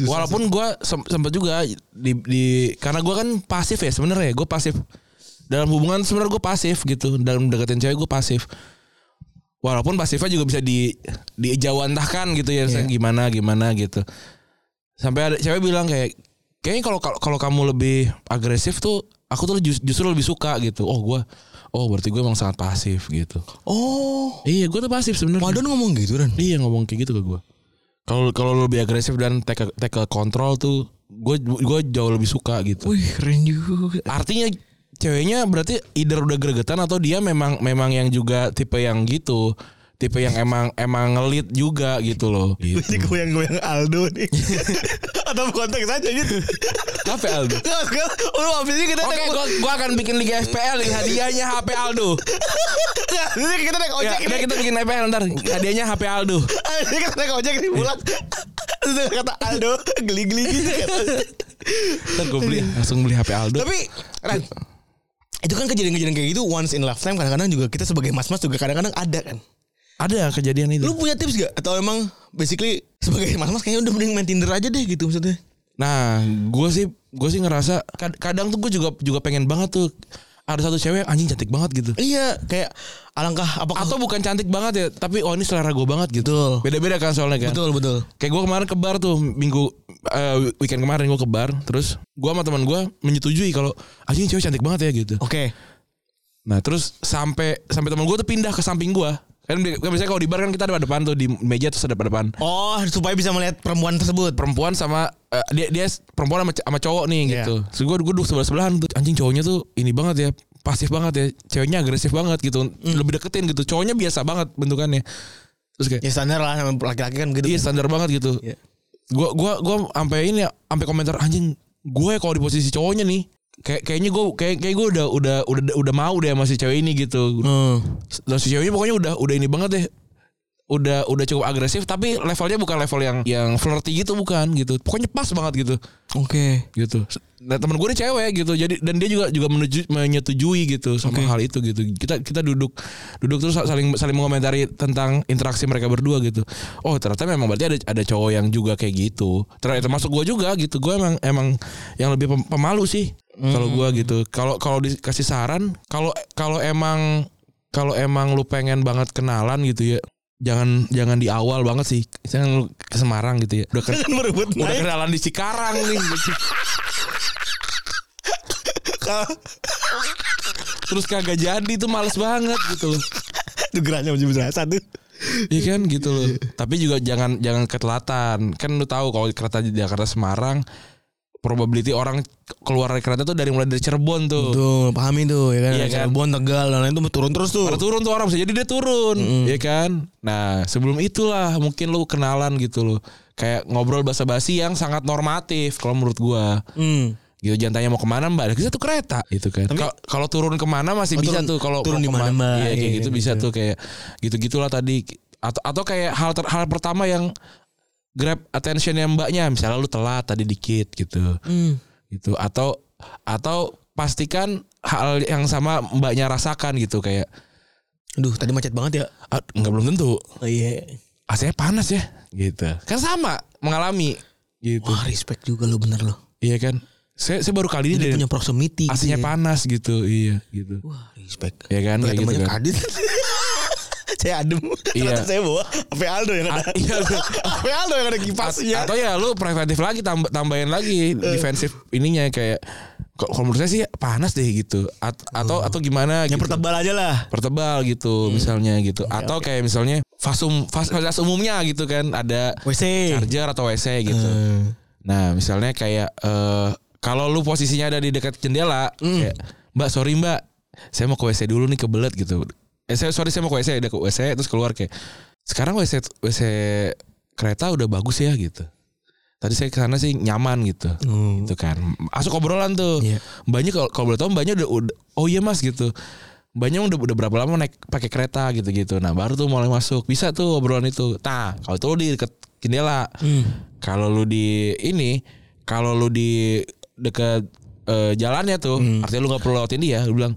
Speaker 3: Walaupun gua sem- sempet juga di, di karena gua kan pasif ya sebenarnya. Gue pasif dalam hubungan sebenarnya gue pasif gitu dalam deketin cewek gue pasif. Walaupun pasifnya juga bisa di dijawantahkan gitu ya misalnya gimana gimana gitu. Sampai ada cewek bilang kayak kayaknya kalau kalau- kalau kamu lebih agresif tuh aku tuh jus- justru lebih suka gitu. Oh gua oh berarti gue emang sangat pasif gitu.
Speaker 2: Oh,
Speaker 3: Iya gue tuh pasif sebenarnya.
Speaker 2: Madon ngomong gitu kan.
Speaker 3: Iya ngomong kayak gitu ke gue. Kalau kalau lu lebih agresif dan take a- take a control tuh gue gue jauh lebih suka gitu.
Speaker 2: Wih keren juga.
Speaker 3: Artinya ceweknya berarti either udah gregetan atau dia memang memang yang juga tipe yang gitu. Tipe yang emang emang ngelit juga gitu loh. Gitu.
Speaker 2: Ini goyang-goyang Aldo nih. Atau konteks aja gitu.
Speaker 3: HP Aldo.
Speaker 2: Enggak, enggak. Lu habis ini kita
Speaker 3: Oke,
Speaker 2: naik
Speaker 3: gua, gua akan bikin Liga FPL nih hadiahnya HP Aldo.
Speaker 2: Enggak, ini kita naik
Speaker 3: Ya,
Speaker 2: ojek
Speaker 3: udah
Speaker 2: nih.
Speaker 3: kita bikin FPL ntar hadiahnya HP Aldo.
Speaker 2: Ini kita naik ojek nih pulang. Terus dia kata Aldo geli-geli gitu.
Speaker 3: Ntar gue beli langsung beli HP Aldo.
Speaker 2: Iya. Tapi Ran, itu kan kejadian-kejadian kayak gitu once in lifetime kadang-kadang juga kita sebagai mas-mas juga kadang-kadang ada kan.
Speaker 3: ada kejadian itu.
Speaker 2: Lu punya tips gak? Atau emang basically sebagai mas-mas kayaknya udah mending main Tinder aja deh gitu maksudnya.
Speaker 3: Nah, gue sih gue sih ngerasa kad- kadang tuh gue juga juga pengen banget tuh ada satu cewek anjing cantik banget gitu.
Speaker 2: Iya, kayak alangkah apakah
Speaker 3: Atau bukan cantik banget ya, tapi oh ini selera gue banget gitu.
Speaker 2: betul.
Speaker 3: Beda-beda kan soalnya kan.
Speaker 2: Betul, betul.
Speaker 3: Kayak gue kemarin ke bar tuh minggu eh, weekend kemarin gue ke bar, terus gue sama teman gue menyetujui kalau anjing cewek cantik banget ya gitu.
Speaker 2: Oke.
Speaker 3: Nah terus sampai sampai teman gue tuh pindah ke samping gue. Kan, bi- kan biasanya kalau di bar kan kita ada depan tuh di meja terus ada depan.
Speaker 2: Oh, supaya bisa melihat perempuan tersebut.
Speaker 3: Perempuan sama eh, dia dia perempuan sama, sama cowok nih
Speaker 2: Iya.
Speaker 3: gitu. Terus gue gue duduk sebelah sebelahan tuh anjing cowoknya tuh ini banget ya pasif banget ya ceweknya agresif banget gitu
Speaker 2: Hmm.
Speaker 3: lebih deketin gitu cowoknya biasa banget bentukannya terus kayak
Speaker 2: Ya standar lah sama laki-laki kan
Speaker 3: Iya
Speaker 2: gitu.
Speaker 3: standar banget gitu.
Speaker 2: Iya.
Speaker 3: Gua gua gua sampai ini sampai komentar anjing gue kalau di posisi cowoknya nih kayak kayaknya gue kayak kayak gue udah udah udah udah mau deh sama si cewek ini gitu.
Speaker 2: Hmm.
Speaker 3: Dan si ceweknya pokoknya udah udah ini banget deh. Udah udah cukup agresif tapi levelnya bukan level yang yang flirty gitu bukan gitu. Pokoknya pas banget gitu
Speaker 2: Oke.
Speaker 3: gitu. Nah, temen gue nih cewek gitu. Jadi dan dia juga juga menuju, menyetujui gitu sama
Speaker 2: Oke.
Speaker 3: hal itu gitu. Kita kita duduk duduk terus saling saling mengomentari tentang interaksi mereka berdua gitu. Oh, ternyata memang berarti ada ada cowok yang juga kayak gitu. Ternyata termasuk gue juga gitu. Gue emang emang yang lebih pem- pemalu sih kalau gue gitu. Kalau kalau dikasih saran, kalau kalau emang kalau emang lu pengen banget kenalan gitu ya jangan jangan di awal banget sih jangan lu ke Semarang gitu ya udah ke,
Speaker 2: Kan berebut
Speaker 3: udah
Speaker 2: naik.
Speaker 3: kenalan di Cikarang nih gitu. terus kagak jadi tuh males banget gitu loh.
Speaker 2: Itu geraknya masih berasa tuh.
Speaker 3: Iya kan gitu loh. Tapi juga jangan jangan ketelatan. Kan lu tahu kalau kereta di Jakarta Semarang probability orang keluar dari kereta tuh dari mulai dari Cirebon tuh.
Speaker 2: Betul, pahami tuh ya kan.
Speaker 3: Iya kan?
Speaker 2: Cirebon, Tegal dan lain tuh turun terus tuh.
Speaker 3: Pada turun tuh orang bisa jadi dia turun, ya kan? Nah, sebelum itulah mungkin lu kenalan gitu loh. Kayak ngobrol basa-basi yang sangat normatif kalau menurut gua.
Speaker 2: Hmm.
Speaker 3: gitu jangan tanya mau kemana mbak kita tuh kereta gitu kan Kalau- kalau turun kemana
Speaker 2: Oh,
Speaker 3: masih bisa
Speaker 2: turun-
Speaker 3: tuh kalau
Speaker 2: turun
Speaker 3: mau
Speaker 2: di mana,
Speaker 3: kemana.
Speaker 2: Mbak?
Speaker 3: iya kayak
Speaker 2: Iya,
Speaker 3: gitu
Speaker 2: gitu.
Speaker 3: bisa tuh kayak gitu gitulah tadi atau atau kayak hal ter- hal pertama yang grab attention yang mbaknya misalnya lu telat tadi dikit gitu
Speaker 2: Hmm.
Speaker 3: gitu atau atau pastikan hal yang sama mbaknya rasakan gitu kayak
Speaker 2: Aduh, tadi macet banget ya.
Speaker 3: "Ah, nggak belum
Speaker 2: Oh,
Speaker 3: tentu
Speaker 2: iya.
Speaker 3: AC panas ya gitu kan sama mengalami gitu
Speaker 2: Wah, respect juga lo bener lo.
Speaker 3: iya kan saya saya baru kali ini
Speaker 2: Dia
Speaker 3: dari-
Speaker 2: punya proximity. gitu
Speaker 3: AC-nya
Speaker 2: ya.
Speaker 3: panas gitu iya gitu
Speaker 2: Wah, respect.
Speaker 3: Ya kan,
Speaker 2: Iya, Kayak
Speaker 3: kayak gitu
Speaker 2: temannya
Speaker 3: kan.
Speaker 2: Kadit. saya adem.
Speaker 3: Iya.
Speaker 2: Ternyata saya bawa HP Aldo yang ada.
Speaker 3: A- iya.
Speaker 2: HP Aldo yang ada iya. kipasnya.
Speaker 3: A- atau ya lu preventif lagi tambah tambahin
Speaker 2: Eh.
Speaker 3: lagi defensif ininya kayak kok- kalau menurut saya sih panas deh gitu At- atau atau gimana
Speaker 2: Yang
Speaker 3: gitu.
Speaker 2: pertebal Hmm. aja lah.
Speaker 3: pertebal gitu misalnya gitu atau kayak misalnya fasum fas- fasilitas umumnya gitu kan ada
Speaker 2: WC.
Speaker 3: charger atau WC gitu
Speaker 2: Hmm.
Speaker 3: nah misalnya kayak eh kalau lu posisinya ada di dekat jendela
Speaker 2: Hmm.
Speaker 3: kayak mbak sorry mbak saya mau ke WC dulu nih kebelet gitu eh saya sorry saya mau ke WC udah ke WC terus keluar kayak sekarang WC WC kereta udah bagus ya gitu tadi saya kesana sih nyaman gitu
Speaker 2: Hmm.
Speaker 3: gitu kan asuk obrolan tuh
Speaker 2: Iya.
Speaker 3: banyak kalau kalau boleh tahu banyak udah, udah- oh iya mas gitu banyak udah udah berapa lama naik pakai kereta gitu gitu nah baru tuh mulai masuk bisa tuh obrolan itu nah kalau itu lu di deket jendela kalau lu di ini kalau lu di deket eh, jalannya tuh artinya lu nggak perlu lewatin dia lu bilang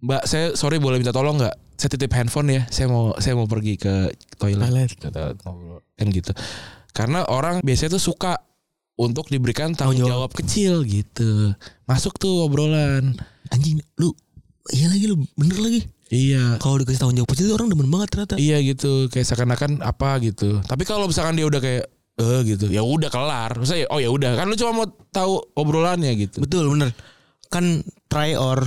Speaker 3: mbak saya sorry boleh minta tolong nggak saya titip handphone ya saya mau saya mau pergi ke toilet
Speaker 2: Toilet.
Speaker 3: kata ngobrol kan gitu karena orang biasanya tuh suka untuk diberikan tanggung
Speaker 2: Tanggung
Speaker 3: jawab. kecil gitu masuk tuh obrolan
Speaker 2: Anjing, lu Iya lagi lu bener lagi.
Speaker 3: iya
Speaker 2: Kalau dikasih tanggung jawab kecil tuh orang demen banget ternyata.
Speaker 3: iya gitu kayak seakan-akan apa gitu tapi kalau misalkan dia udah kayak eh gitu ya udah kelar saya oh ya udah kan lu cuma mau tahu obrolannya gitu
Speaker 2: Betul bener. Kan try or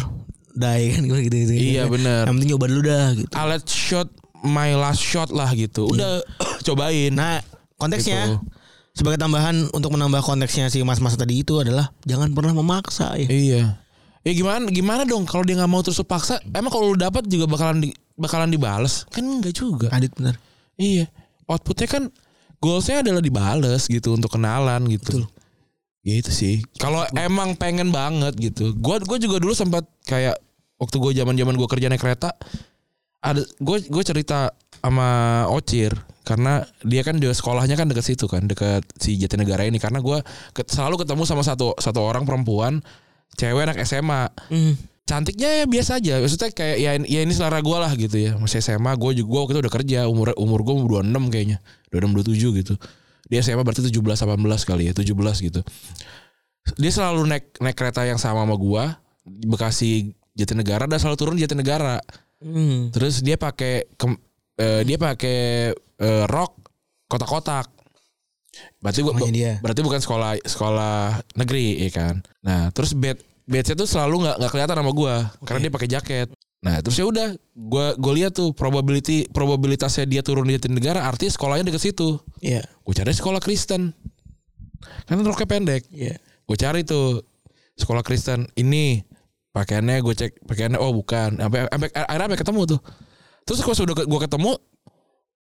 Speaker 2: die kan gitu gitu.
Speaker 3: Iya, bener. Ah,
Speaker 2: Yang penting nyoba dulu dah gitu.
Speaker 3: I let shot my last shot lah gitu udah cobain
Speaker 2: Nah, konteksnya
Speaker 3: Gitu.
Speaker 2: sebagai tambahan untuk menambah konteksnya si mas-mas tadi itu adalah jangan pernah memaksa ya.
Speaker 3: iya ya gimana gimana dong kalau dia nggak mau terus lu paksa emang kalau lu dapat juga bakalan di, bakalan dibales kan enggak juga
Speaker 2: Adit bener.
Speaker 3: Iya. Outputnya kan goalsnya adalah dibales gitu untuk kenalan gitu.
Speaker 2: Betul.
Speaker 3: Gitu sih. Kalau emang pengen banget gitu. Gua gua juga dulu sempat kayak waktu gue zaman-zaman gue kerja naik kereta ada gue gue cerita sama Ocir karena dia kan juga sekolahnya kan dekat situ kan dekat si Jatinegara ini karena gue selalu ketemu sama satu satu orang perempuan cewek anak SMA cantiknya ya biasa aja maksudnya kayak ya, ya ini selera gue lah gitu ya masih SMA gue juga gua waktu itu udah kerja umur umur gue 26 kayaknya 26 27 gitu dia SMA berarti 17 18 kali ya 17 gitu dia selalu naik naik kereta yang sama sama gue Bekasi Jatinegara dan selalu turun di Jatinegara.
Speaker 2: Hmm.
Speaker 3: Terus dia pakai kem- eh, dia pakai eh, rok kotak-kotak. Berarti bu-
Speaker 2: Namanya dia.
Speaker 3: berarti bukan sekolah sekolah negeri ya kan. Nah, terus bed bedset tuh selalu nggak nggak kelihatan sama gua karena dia pakai jaket. Nah, terus ya udah gua gua lihat tuh probability probabilitasnya dia turun di negara artinya sekolahnya deket situ.
Speaker 2: Iya.
Speaker 3: Gua cari sekolah Kristen. Kan roknya pendek.
Speaker 2: Iya.
Speaker 3: Gue cari tuh sekolah Kristen ini pakaiannya gue cek pakaiannya oh bukan sampai sampai akhirnya sampai ketemu tuh terus kalau sudah gue ketemu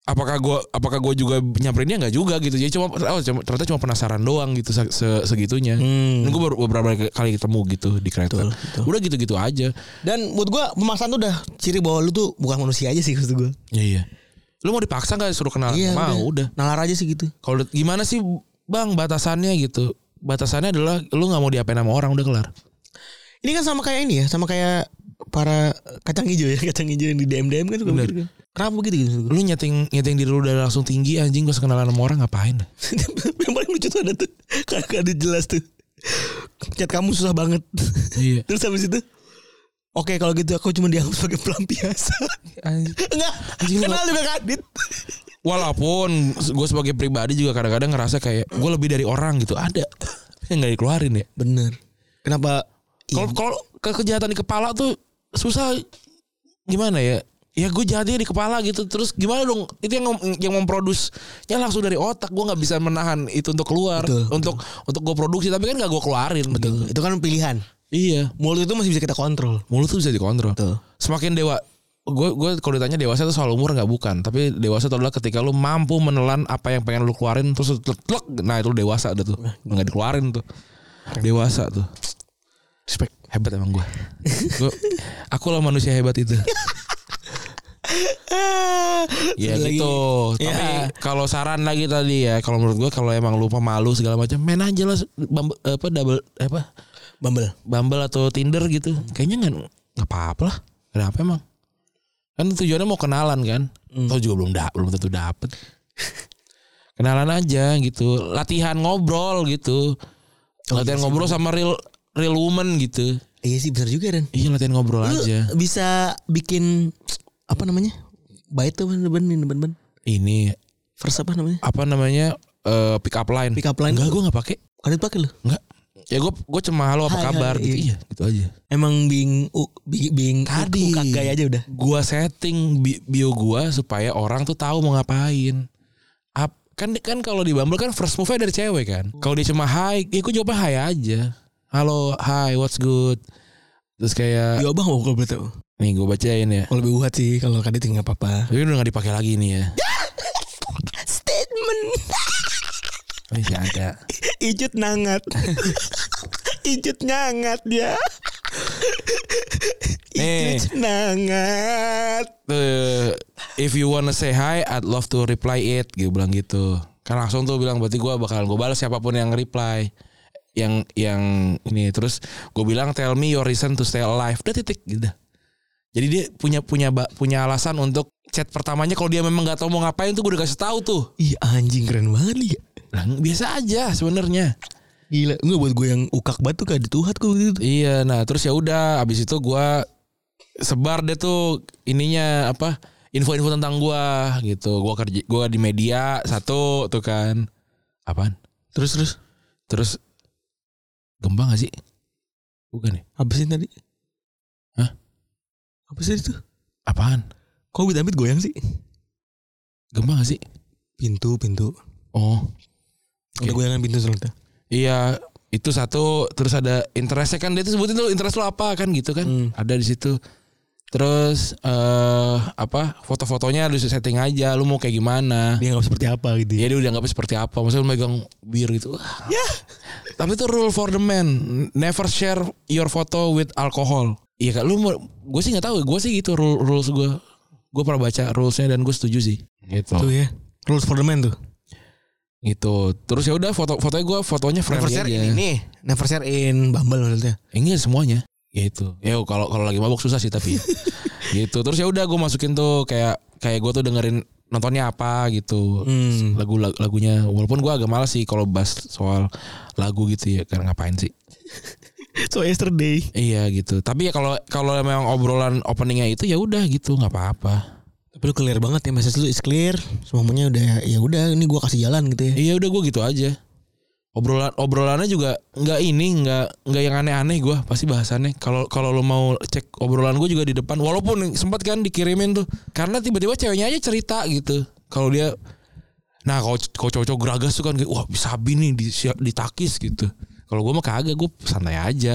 Speaker 3: apakah gue apakah gue juga nyamperinnya nggak juga gitu jadi cuma oh cuma- ternyata cuma penasaran doang gitu se- se- segitunya
Speaker 2: Hmm.
Speaker 3: Dan gue baru beberapa kali ketemu gitu di kereta
Speaker 2: Betul, betul.
Speaker 3: udah gitu gitu aja
Speaker 2: Dan menurut gua pemaksaan tuh udah ciri bahwa lu tuh bukan manusia aja sih maksud gua. Iya,
Speaker 3: iya iya lu mau dipaksa Ah, nggak suruh kenal mau udah
Speaker 2: Nalar aja sih gitu.
Speaker 3: kalau udah- gimana sih bang batasannya gitu batasannya adalah lu nggak mau diapain sama orang udah kelar
Speaker 2: Ini kan sama kayak ini ya, sama kayak para kacang hijau ya, kacang hijau yang di DM DM kan juga
Speaker 3: Bener.
Speaker 2: begitu kan. Kenapa begitu gitu? maksud gua?
Speaker 3: lu nyeting nyeting diri lu udah langsung tinggi anjing gua sekenalan sama orang ngapain dah?
Speaker 2: Yang paling lucu tuh ada tuh, kagak ada jelas tuh. Chat kamu susah banget.
Speaker 3: iya
Speaker 2: Terus habis itu Oke kalau gitu aku cuma dianggap sebagai pelampiasan Enggak
Speaker 3: Anjing, lu-
Speaker 2: Kenal juga kadit
Speaker 3: walaupun gue sebagai pribadi juga kadang-kadang ngerasa kayak gue lebih dari orang gitu ada yang nggak dikeluarin ya
Speaker 2: Bener Kenapa Iya,
Speaker 3: kalau kalau ke kejahatan di kepala tuh susah gimana ya ya gue jahatnya di kepala gitu terus gimana dong itu yang yang memproduksnya langsung dari otak gue nggak bisa menahan itu untuk keluar
Speaker 2: Betul,
Speaker 3: untuk untuk gue produksi tapi kan nggak gue keluarin betul
Speaker 2: Itu kan pilihan
Speaker 3: iya
Speaker 2: Mulut itu masih bisa kita kontrol
Speaker 3: mulut tuh bisa dikontrol
Speaker 2: Betul
Speaker 3: semakin dewa gue gue kalau ditanya dewasa itu soal umur nggak bukan tapi dewasa itu adalah ketika lu mampu menelan apa yang pengen lu keluarin terus lu tlek, tlek. nah itu lu dewasa ada tuh nggak dikeluarin tuh dewasa tuh
Speaker 2: Respect
Speaker 3: hebat emang gue Gua- aku lah manusia hebat itu ya
Speaker 2: Lagi-
Speaker 3: gitu tapi
Speaker 2: Ya.
Speaker 3: kalau saran lagi tadi ya kalau menurut gue kalau emang lu pemalu segala macam main aja lah Bumble- apa double apa
Speaker 2: Bumble
Speaker 3: Bumble atau Tinder gitu kayaknya nggak nggak apa-apa lah kenapa emang kan tujuannya mau kenalan kan
Speaker 2: Hmm.
Speaker 3: atau juga belum da belum tentu dapet kenalan aja gitu latihan ngobrol gitu
Speaker 2: Oh,
Speaker 3: latihan ngobrol sama real real woman gitu
Speaker 2: Iya sih bener juga Dan
Speaker 3: iya latihan ngobrol
Speaker 2: Lu
Speaker 3: aja
Speaker 2: bisa bikin Apa namanya Bait tuh ben ben ben ben
Speaker 3: ini
Speaker 2: First apa namanya
Speaker 3: apa namanya eh, pick up line
Speaker 2: Pick up line.
Speaker 3: enggak gue nggak pakai
Speaker 2: Kadit pakai lu
Speaker 3: enggak ya gue gue cuma halo apa
Speaker 2: Hai,
Speaker 3: kabar
Speaker 2: hai,
Speaker 3: gitu
Speaker 2: iya.
Speaker 3: iya gitu aja
Speaker 2: Emang bing u, bing, bing
Speaker 3: Tadi.
Speaker 2: kagak aja udah
Speaker 3: gua setting bi- bio gua supaya orang tuh tahu mau ngapain. Ap- kan kan kalau di Bumble kan first move-nya dari cewek kan. Kalau dia cuma hi, ya gua jawabnya hi aja. Halo, hi, what's good? Terus kayak
Speaker 2: Ya abang mau gue berarti
Speaker 3: nih gua bacain ya.
Speaker 2: Kalau lebih buat sih Kalau kadit nggak apa-apa
Speaker 3: Tapi udah gak dipakai lagi nih ya.
Speaker 2: Statement
Speaker 3: Masih ada.
Speaker 2: Icut nangat. Icut nyangat dia.
Speaker 3: Eh.
Speaker 2: Icut nangat.
Speaker 3: Eh, if you wanna say hi, I'd love to reply it. Gue bilang gitu. Kan langsung tuh bilang berarti gua bakalan gue balas siapapun yang reply. Yang yang ini terus gue bilang tell me your reason to stay alive. Udah titik gitu. dah. Jadi dia punya punya ba- punya alasan untuk chat pertamanya kalau dia memang nggak tahu mau ngapain tuh gue udah kasih tahu tuh.
Speaker 2: Ih anjing keren banget nih.
Speaker 3: Nah, biasa aja sebenarnya.
Speaker 2: Gila, enggak buat gue yang ukak batu kagak dituhat kok gitu.
Speaker 3: Iya, nah terus ya udah abis itu gua sebar deh tuh ininya apa info-info tentang gua gitu. Gua kerja gua di media satu tuh kan. Apaan?
Speaker 2: Terus terus
Speaker 3: Terus gempa gak sih? Bukan ya?
Speaker 2: habisin tadi.
Speaker 3: Hah?
Speaker 2: Apa sih itu?
Speaker 3: Apaan?
Speaker 2: Kok amit-amit goyang sih?
Speaker 3: Gempa gak sih?
Speaker 2: Pintu, pintu.
Speaker 3: Oh.
Speaker 2: Ada
Speaker 3: Oke.
Speaker 2: goyangan pintu selalu.
Speaker 3: Iya, itu satu terus ada interestnya kan dia tuh sebutin tuh interest lo apa kan gitu kan.
Speaker 2: Hmm.
Speaker 3: Ada di situ. Terus eh apa foto-fotonya lu setting aja lu mau kayak gimana.
Speaker 2: Dia nggak seperti apa gitu.
Speaker 3: Ya dia udah nggak seperti apa. Maksudnya lu megang bir gitu. Wah.
Speaker 2: Ya.
Speaker 3: Tapi itu rule for the man. Never share your photo with alcohol. Iya kak, lu gue sih nggak tahu. Gue sih gitu rule rules gue. Gue pernah baca rulesnya dan gue setuju sih. Gitu.
Speaker 2: Tuh ya. Rules for the man tuh.
Speaker 3: Gitu. Terus ya udah foto fotonya gue fotonya
Speaker 2: Never
Speaker 3: friendly
Speaker 2: share
Speaker 3: aja.
Speaker 2: in ini. Never share in Bumble maksudnya.
Speaker 3: Ini semuanya. Gitu. Ya kalau kalau lagi mabuk susah sih tapi. gitu. Terus ya udah gue masukin tuh kayak kayak gue tuh dengerin nontonnya apa gitu.
Speaker 2: Hmm.
Speaker 3: lagu lagu- lagunya walaupun gua agak malas sih kalau bahas soal lagu gitu ya karena ngapain sih
Speaker 2: so yesterday.
Speaker 3: Iya gitu. Tapi ya kalau kalau memang obrolan openingnya itu ya udah gitu nggak apa-apa.
Speaker 2: Tapi lu clear banget ya message lu is clear. Semuanya udah ya udah ini gua kasih jalan gitu ya.
Speaker 3: Iya udah gue gitu aja. Obrolan obrolannya juga nggak ini nggak nggak yang aneh-aneh gue pasti bahasannya. Kalau kalau lo mau cek obrolan gue juga di depan. Walaupun sempat kan dikirimin tuh karena tiba-tiba ceweknya aja cerita gitu. Kalau dia Nah kalau c- kalau cowok-cowok geragas tuh kan kayak, Wah sabi nih di, ditakis gitu Kalau gue mah kagak Gue santai aja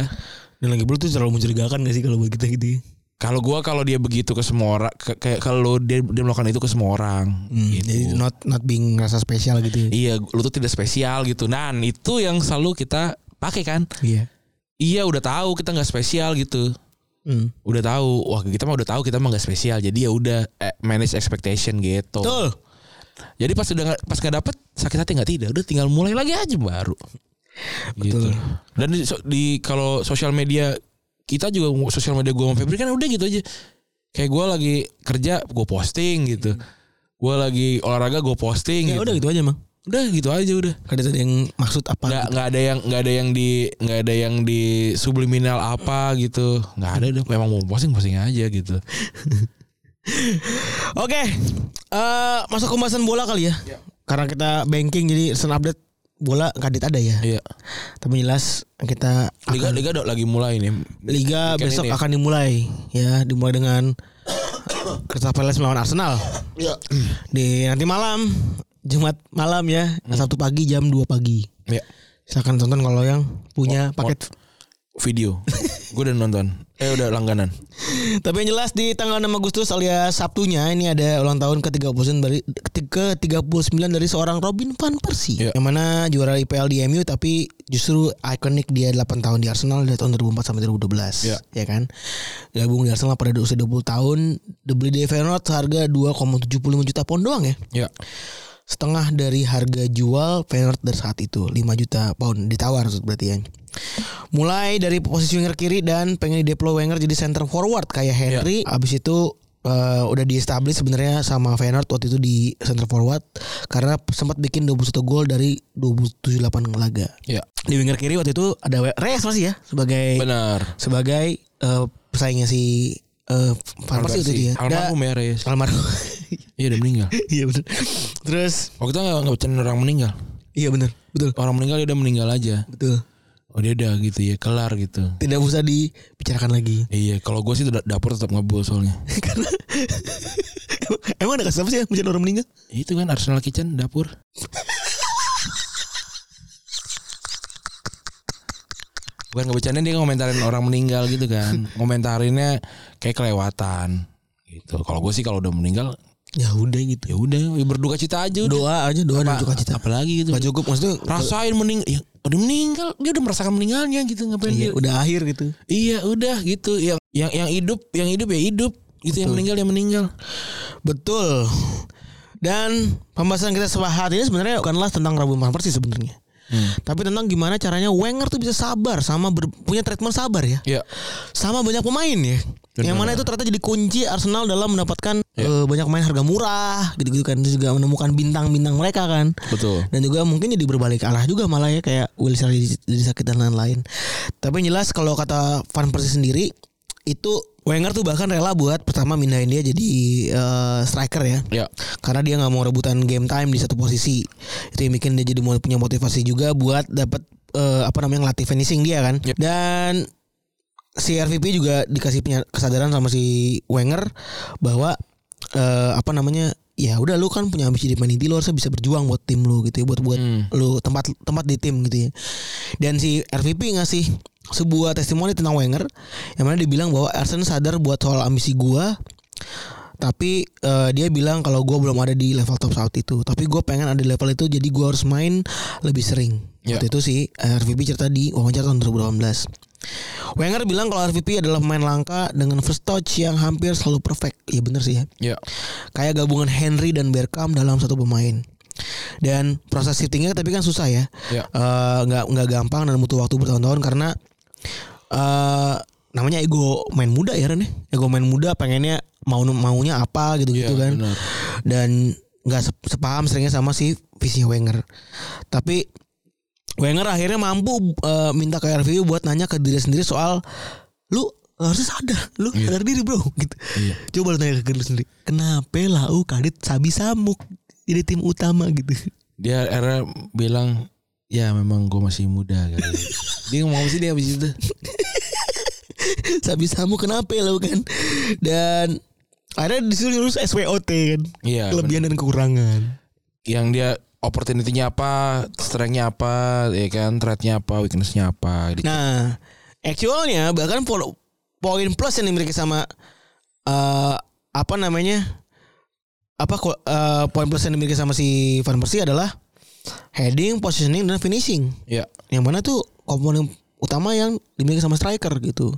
Speaker 2: Dan lagi pula tuh terlalu mencurigakan gak sih kalau buat kita gitu. ya?
Speaker 3: Kalau gua kalau dia begitu ke semua orang, ke- kayak kalau dia, dia melakukan itu ke semua orang, gitu.
Speaker 2: Hmm, Jadi not not being rasa spesial gitu. ya.
Speaker 3: iya, lu tuh tidak spesial gitu. Dan itu yang selalu kita pakai kan.
Speaker 2: Iya.
Speaker 3: Iya, udah tahu kita nggak spesial gitu.
Speaker 2: Hmm.
Speaker 3: Udah tahu, wah kita mah udah tahu kita mah nggak spesial. Jadi ya udah eh, manage expectation gitu.
Speaker 2: Betul.
Speaker 3: Jadi pas udah nggak- pas nggak dapet sakit hati nggak tidak, udah tinggal mulai lagi aja baru. Gitu.
Speaker 2: Betul.
Speaker 3: Dan di, so- di- kalau sosial media kita juga sosial media gue sama Febri kan udah gitu aja. Kayak gue lagi kerja gue posting gitu. Gue lagi olahraga gue
Speaker 2: Ya
Speaker 3: posting. gitu.
Speaker 2: udah gitu aja mang.
Speaker 3: Udah gitu aja udah.
Speaker 2: Ada ada yang maksud apa?
Speaker 3: Nggak
Speaker 2: gitu.
Speaker 3: nggak ada yang nggak ada yang di nggak ada yang di subliminal apa gitu. Nggak ada. udah. Memang mau posting posting aja gitu.
Speaker 2: Oke. Eh, masuk ke pembahasan bola kali ya. Karena kita banking jadi sen update bola kadit ada ya.
Speaker 3: Iya.
Speaker 2: Tapi jelas kita
Speaker 3: Liga liga udah lagi mulai nih.
Speaker 2: Liga
Speaker 3: Weekend
Speaker 2: besok
Speaker 3: ini ya.
Speaker 2: akan dimulai ya, dimulai dengan Crystal Palace melawan Arsenal. Di nanti malam, Jumat malam ya, Sabtu pagi jam 2 pagi.
Speaker 3: Iya.
Speaker 2: Silakan tonton kalau yang punya
Speaker 3: Mo-
Speaker 2: paket.
Speaker 3: Video. gue udah nonton. Eh udah langganan.
Speaker 2: Tapi yang jelas di tanggal 6 Agustus alias Sabtunya ini ada ulang tahun ke-39 dari ke-39 dari seorang Robin van Persie.
Speaker 3: Iya.
Speaker 2: Yang mana juara IPL di MU tapi justru ikonik dia 8 tahun di Arsenal dari tahun 2004 sampai 2012.
Speaker 3: Iya.
Speaker 2: Ya kan? Gabung di Arsenal pada usia 20 tahun, dibeli di Feyenoord seharga 2,75 juta pound doang ya.
Speaker 3: Iya.
Speaker 2: Setengah dari harga jual Feyenoord dari saat itu 5 juta pound ditawar berarti ya. Mulai dari posisi winger kiri dan pengen dideploy Wenger jadi center forward kayak Henry. Abis itu eh, udah diestablish sebenarnya sama Feyenoord waktu itu di center forward karena sempat bikin 21 gol dari 27 lapan laga.
Speaker 3: Iya.
Speaker 2: Di winger kiri waktu itu ada We- Reyes masih ya sebagai
Speaker 3: Benar.
Speaker 2: sebagai eh, pesaingnya si eh Van Persie waktu itu ya.
Speaker 3: Almarhum
Speaker 2: Da-
Speaker 3: ya Reyes.
Speaker 2: Almarhum.
Speaker 3: Iya udah meninggal.
Speaker 2: Iya bener. Terus
Speaker 3: Waktu itu nggak nggak bercanda orang meninggal.
Speaker 2: iya bener betul
Speaker 3: Orang meninggal dia udah meninggal aja.
Speaker 2: betul.
Speaker 3: Oh dia udah gitu ya kelar gitu.
Speaker 2: Tidak usah dibicarakan lagi.
Speaker 3: Iya kalau gue sih da- dapur tetap ngebul soalnya.
Speaker 2: Karena emang ada kasus apa sih yang menjadi orang meninggal?
Speaker 3: Itu kan Arsenal Kitchen dapur. Bukan ngebecandain dia ngomentarin orang meninggal gitu kan. Ngomentarinnya kayak kelewatan gitu. Kalau gue sih kalau udah meninggal
Speaker 2: Ya udah gitu.
Speaker 3: ya udah ya berduka cita aja udah.
Speaker 2: Doa aja doa dan cita-cita.
Speaker 3: Apalagi gitu.
Speaker 2: Gak cukup maksudnya
Speaker 3: rasain mening ya udah meninggal dia udah merasakan meninggalnya gitu ngapain
Speaker 2: iya,
Speaker 3: dia
Speaker 2: udah akhir gitu.
Speaker 3: iya udah gitu yang yang yang hidup yang hidup ya hidup gitu yang meninggal yang meninggal
Speaker 2: Betul. Dan pembahasan kita hari ini sebenarnya bukanlah tentang Rabu Van Persie sebenarnya. Tapi tentang gimana caranya Wenger tuh bisa sabar sama ber- punya treatment sabar ya.
Speaker 3: ya
Speaker 2: Sama banyak pemain ya.
Speaker 3: Benar. Iya.
Speaker 2: Yang mana itu ternyata jadi kunci Arsenal dalam mendapatkan eh, banyak pemain harga murah gitu-gitu kan. Terus juga menemukan bintang-bintang mereka kan.
Speaker 3: betul
Speaker 2: Dan juga mungkin jadi berbalik arah juga malah ya kayak Wilson jadi, jadi sakit dan lain-lain. Tapi yang jelas kalau kata Van Persie sendiri itu Wenger tuh bahkan rela buat pertama mindahin dia jadi eh, striker ya.
Speaker 3: ya
Speaker 2: Karena dia nggak mau rebutan game time di satu posisi. Itu yang bikin dia jadi mulai punya motivasi juga buat dapat eh, apa namanya ngelatih finishing dia kan.
Speaker 3: Yep.
Speaker 2: Dan si RVP juga dikasih punya kesadaran sama si Wenger bahwa eh, apa namanya ya udah lu kan punya ambisi di main inti lu harusnya bisa berjuang buat tim lu gitu ya buat buat
Speaker 3: Hmm.
Speaker 2: lu tempat tempat di tim gitu ya dan si RVP ngasih sebuah testimoni tentang Wenger yang mana dibilang bahwa Arsenal sadar buat soal ambisi gua tapi eh, dia bilang kalau gua belum ada di level top saat itu tapi gua pengen ada di level itu jadi gua harus main lebih sering
Speaker 3: Ya.
Speaker 2: waktu itu eh, sih RVP cerita di wawancara tahun 2018 Wenger bilang kalau RVP adalah pemain langka dengan first touch yang hampir selalu perfect ya bener sih ya
Speaker 3: ya
Speaker 2: kayak gabungan Henry dan Bergkamp dalam satu pemain dan proses shiftingnya tapi kan susah ya
Speaker 3: ya
Speaker 2: Eh, nggak nggak gampang dan butuh waktu bertahun-tahun karena eh namanya ego main muda ya Ren ya ego main muda pengennya mau maunya apa gitu-gitu
Speaker 3: Iya,
Speaker 2: kan
Speaker 3: benar.
Speaker 2: dan nggak sep- sepaham seringnya sama si visi Wenger tapi Wenger akhirnya mampu eh, minta ke RVU buat nanya ke diri sendiri soal lu harusnya sadar, lu sadar diri bro. Gitu.
Speaker 3: Iya.
Speaker 2: Coba lu tanya ke diri lu sendiri, kenapa lau kadit sabi samuk jadi tim utama gitu.
Speaker 3: dia era bilang ya memang gue masih muda kali ya." dia ngomong apa sih dia habis itu
Speaker 2: sabi samuk kenapa lau kan? Dan akhirnya disuruh lurus SWOT kan.
Speaker 3: Iya,
Speaker 2: Kelebihan dan kekurangan.
Speaker 3: yang dia opportunity-nya apa strength-nya apa ya kan threat-nya apa weakness-nya apa gitu. Di-
Speaker 2: Nah, actualnya bahkan po- poin plus yang dimiliki sama eh, apa namanya? Apa ko- eh, poin plus yang dimiliki sama si Van Persie adalah heading, positioning dan finishing.
Speaker 3: ya
Speaker 2: Yang mana tuh komponen utama yang dimiliki sama striker gitu.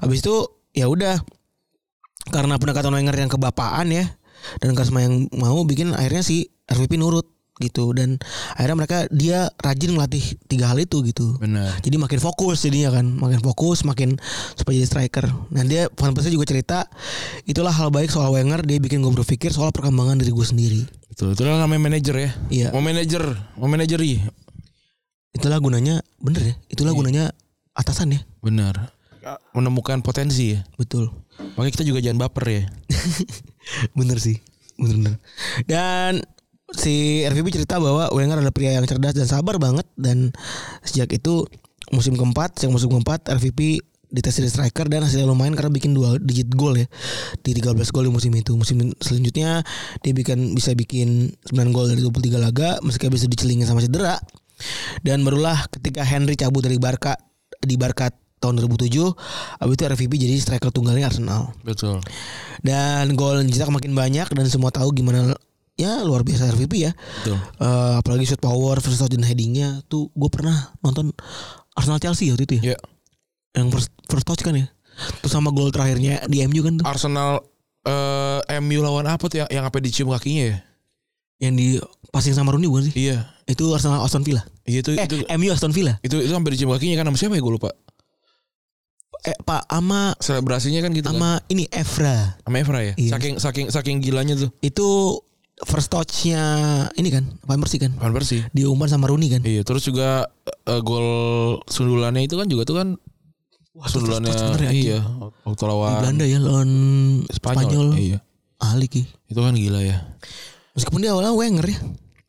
Speaker 2: Habis itu ya udah karena pendekatan Wenger yang kebapaan ya dan Kasma yang mau bikin akhirnya si RVP nurut gitu dan akhirnya mereka dia rajin ngelatih tiga hal itu gitu
Speaker 3: benar
Speaker 2: jadi makin fokus jadinya kan makin fokus makin supaya jadi striker nah dia Van Persie juga cerita itulah hal baik soal Wenger dia bikin gue berpikir soal perkembangan diri gue sendiri
Speaker 3: betul itulah namanya manajer ya
Speaker 2: Iya.
Speaker 3: mau manajer mau manajeri
Speaker 2: itulah gunanya bener ya itulah gunanya atasan ya
Speaker 3: benar menemukan potensi ya
Speaker 2: betul
Speaker 3: makanya kita juga jangan baper ya
Speaker 2: bener sih bener bener dan si RVP cerita bahwa Wenger adalah pria yang cerdas dan sabar banget dan sejak itu musim keempat sejak musim keempat RVP dites jadi striker dan hasilnya lumayan karena bikin dua digit gol ya di 13 gol di musim itu musim selanjutnya dia bikin bisa bikin 9 gol dari 23 laga meski habis itu dicelingin sama cedera dan barulah ketika Henry cabut dari Barca di Barca tahun 2007 habis itu RVP jadi striker tunggalnya Arsenal
Speaker 3: betul
Speaker 2: dan gol yang dicetak makin banyak dan semua tahu gimana ya luar biasa RVP ya.
Speaker 3: betul
Speaker 2: Eh, apalagi shoot power versus dan headingnya tuh gue pernah nonton Arsenal Chelsea waktu itu ya.
Speaker 3: ya
Speaker 2: Yang first, first touch kan ya. Terus sama gol terakhirnya di MU kan tuh.
Speaker 3: Arsenal eh, MU lawan apa tuh yang, yang apa dicium kakinya ya
Speaker 2: Yang di passing sama Rooney bukan sih?
Speaker 3: iya
Speaker 2: Itu Arsenal Aston Villa.
Speaker 3: iya itu
Speaker 2: Eh,
Speaker 3: itu
Speaker 2: MU Aston Villa.
Speaker 3: itu itu hampir dicium kakinya kan sama siapa ya gue lupa
Speaker 2: Eh, Pak ama
Speaker 3: selebrasinya kan gitu kan
Speaker 2: ama ini Evra.
Speaker 3: sama Evra ya
Speaker 2: Iya.
Speaker 3: saking saking saking gilanya tuh
Speaker 2: Itu first touch-nya ini kan, Van Persie kan.
Speaker 3: Van Persie
Speaker 2: Diumpan sama Rooney kan.
Speaker 3: Iya, terus juga eh, gol sundulannya itu kan juga tuh kan
Speaker 2: Wah, itu first
Speaker 3: sundulannya
Speaker 2: touch bener ya,
Speaker 3: iya
Speaker 2: anjing.
Speaker 3: waktu
Speaker 2: Di
Speaker 3: lawan
Speaker 2: Belanda ya lawan
Speaker 3: Spanyol.
Speaker 2: Spanyol.
Speaker 3: Iya.
Speaker 2: Ahli ki.
Speaker 3: Itu kan gila ya.
Speaker 2: Meskipun dia awalnya Wenger ya.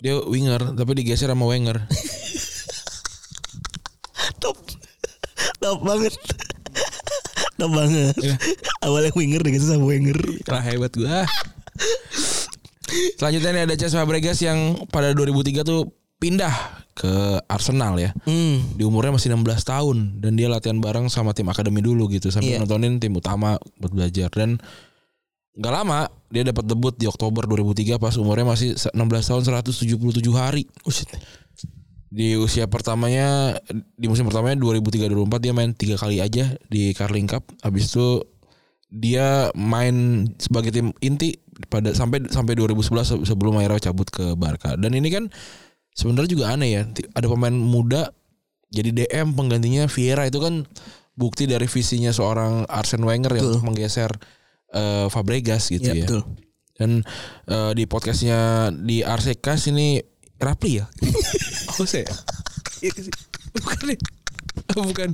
Speaker 3: Dia winger tapi digeser sama Wenger.
Speaker 2: Top. Top banget. Top banget. Awalnya Wenger dengan sama Wenger.
Speaker 3: Keren hebat gua. Selanjutnya nih ada Cesc Fabregas yang pada 2003 tuh pindah ke Arsenal ya.
Speaker 2: Hmm.
Speaker 3: Di umurnya masih 16 tahun dan dia latihan bareng sama tim akademi dulu gitu
Speaker 2: Iya.
Speaker 3: sambil nontonin tim utama buat belajar dan nggak lama dia dapat debut di Oktober 2003 pas umurnya masih 16 tahun 177 hari.
Speaker 2: Oh,
Speaker 3: di usia pertamanya di musim pertamanya 2003-2004 dia main tiga kali aja di Carling Cup habis itu dia main sebagai tim inti pada sampai sampai 2011 se- sebelum akhirnya cabut ke Barca dan ini kan sebenarnya juga aneh ya Ti- ada pemain muda jadi DM penggantinya Vieira itu kan bukti dari visinya seorang Arsene Wenger yang untuk menggeser eh, Fabregas gitu
Speaker 2: Iya
Speaker 3: ya
Speaker 2: betul.
Speaker 3: dan eh, di podcastnya di Arsekas ini Rapli ya? oh saya. Iya sih. Bukan deh. Oh, Bukan.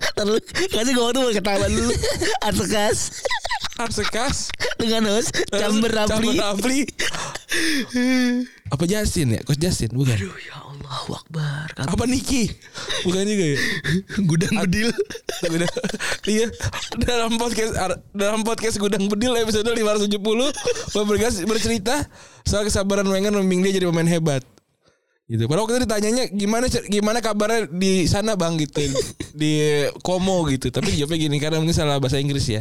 Speaker 2: Terus kasih gue tuh ketawa dulu. Arsekas
Speaker 3: Arsekas.
Speaker 2: dengan host Chamber Rapli.
Speaker 3: Rapli. Apa Justin ya? Coach Justin bukan.
Speaker 2: Ya Allah Akbar. Kata
Speaker 3: Apa Niki? Bukan juga ya.
Speaker 2: gudang bedil.
Speaker 3: Gudang- iya dalam podcast ar- dalam podcast gudang bedil episode 570 Fabregas bercerita soal kesabaran Wenger membimbing dia jadi pemain hebat gitu. Padahal waktu itu ditanyanya gimana cer- gimana kabarnya di sana bang gitu di Komo gitu. Tapi jawabnya gini karena mungkin salah bahasa Inggris ya.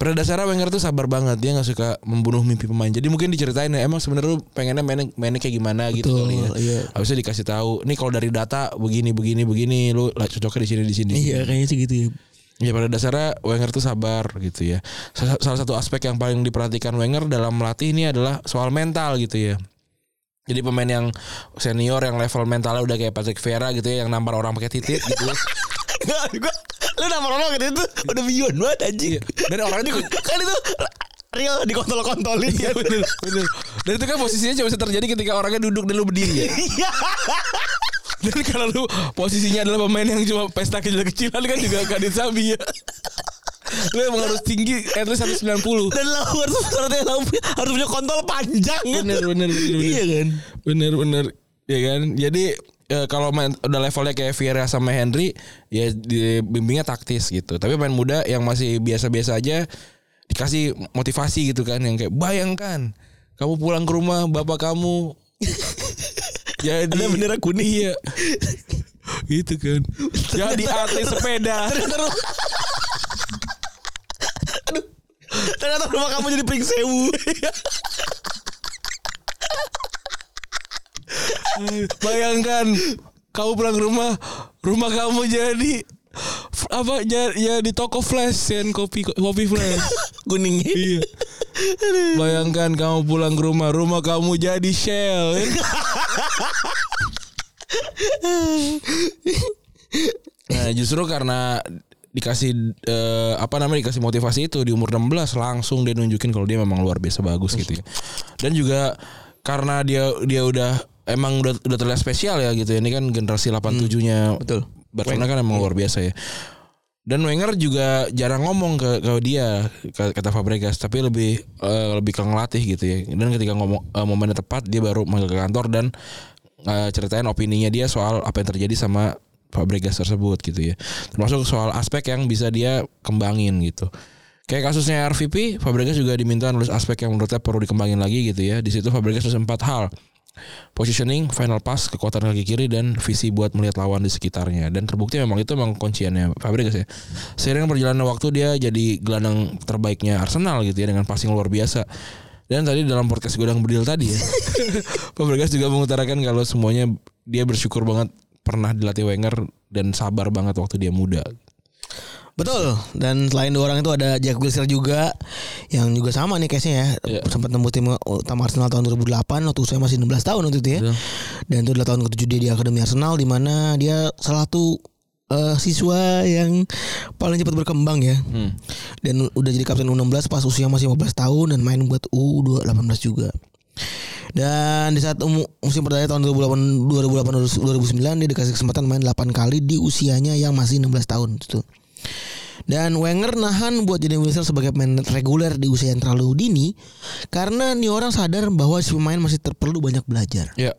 Speaker 3: Pada dasarnya Wenger tuh sabar banget dia nggak suka membunuh mimpi pemain. Jadi mungkin diceritain ya emang sebenarnya lu pengennya mainnya, mainnya kayak gimana gitu
Speaker 2: Betul,
Speaker 3: kali ya.
Speaker 2: iya.
Speaker 3: Habisnya dikasih tahu, nih kalau dari data begini begini begini lu lah cocoknya di sini di sini.
Speaker 2: Iya kayaknya sih gitu ya.
Speaker 3: Ya pada dasarnya Wenger tuh sabar gitu ya. Sa- Salah satu aspek yang paling diperhatikan Wenger dalam melatih ini adalah soal mental gitu ya. Jadi pemain yang senior yang level mentalnya udah kayak Patrick Vieira gitu ya yang nampar orang pakai titik gitu. ya.
Speaker 2: Enggak, gua lu nama orang gitu itu udah beyond banget anjing.
Speaker 3: Dan orangnya juga
Speaker 2: Kan itu real dikontol-kontolin ya.
Speaker 3: Iya, bener, bener. Dan itu kan posisinya cuma bisa terjadi ketika orangnya duduk dan lu berdiri ya.
Speaker 2: Iya.
Speaker 3: Dan kalau lu posisinya adalah pemain yang cuma pesta kecil-kecilan kan juga kadin sabi ya. Lu emang harus tinggi at least 190.
Speaker 2: Dan lo harus ternyata lo harus punya kontol panjang
Speaker 3: Bener
Speaker 2: gitu.
Speaker 3: bener bener. bener.
Speaker 2: Iya kan?
Speaker 3: Bener bener. Ya kan? Jadi eh, kalau main udah levelnya kayak Vieira sama Henry ya dibimbingnya taktis gitu. Tapi pemain muda yang masih biasa-biasa aja dikasih motivasi gitu kan yang kayak bayangkan kamu pulang ke rumah bapak kamu jadi
Speaker 2: Ada bendera
Speaker 3: kuning ya gitu kan jadi atlet sepeda
Speaker 2: Terus Aduh. Ternyata rumah kamu jadi pring sewu.
Speaker 3: Iya. Bayangkan kamu pulang ke rumah, rumah kamu jadi apa ya, ya di toko flash kan kopi kopi flash.
Speaker 2: Kuning.
Speaker 3: iya. Bayangkan kamu pulang ke rumah, rumah kamu jadi shell. kan? nah, justru karena dikasih eh, apa namanya dikasih motivasi itu di umur 16 langsung dia nunjukin kalau dia memang luar biasa bagus gitu ya. Dan juga karena dia dia udah emang udah udah terlihat spesial ya gitu ya. Ini kan generasi 87-nya.
Speaker 2: betul.
Speaker 3: Barcelona kan emang luar biasa ya. Dan Wenger juga jarang ngomong ke, ke dia ke- kata Fabregas, tapi lebih eh, lebih ke ngelatih gitu ya. Dan ketika ngomong eh, momennya tepat, dia baru manggil ke kantor dan eh, ceritain opininya dia soal apa yang terjadi sama Fabregas tersebut gitu ya. Termasuk soal aspek yang bisa dia kembangin gitu. Kayak kasusnya RVP, Fabregas juga diminta nulis aspek yang menurutnya perlu dikembangin lagi gitu ya. Di situ Fabregas nulis empat hal positioning, final pass, kekuatan kaki kiri dan visi buat melihat lawan di sekitarnya. Dan terbukti memang itu memang kunciannya Fabregas ya. Seiring perjalanan waktu dia jadi gelandang terbaiknya Arsenal gitu ya dengan passing luar biasa. Dan tadi dalam podcast Godang Bedil tadi ya. Fabregas juga mengutarakan kalau semuanya dia bersyukur banget pernah dilatih Wenger dan sabar banget waktu dia muda.
Speaker 2: Betul. Dan selain dua orang itu ada Jack Wilshere juga yang juga sama nih case-nya ya.
Speaker 3: Iya.
Speaker 2: Sempat nembus tim utama Arsenal tahun 2008 waktu saya masih 16 tahun waktu itu ya.
Speaker 3: Betul.
Speaker 2: Dan itu adalah tahun ke-7 dia di akademi Arsenal di mana dia salah satu eh, siswa yang paling cepat berkembang ya. Dan udah jadi kapten U16 pas usia masih 15 tahun dan main buat U18 juga. Dan di saat umu- musim pertama tahun 2008 2008 2009 dia dikasih kesempatan main 8 kali di usianya yang masih 16 tahun gitu. itu. Dan Wenger nahan buat jadi Wilson sebagai pemain reguler di usia yang terlalu dini karena nih orang sadar bahwa si pemain masih perlu banyak belajar.
Speaker 3: Ya.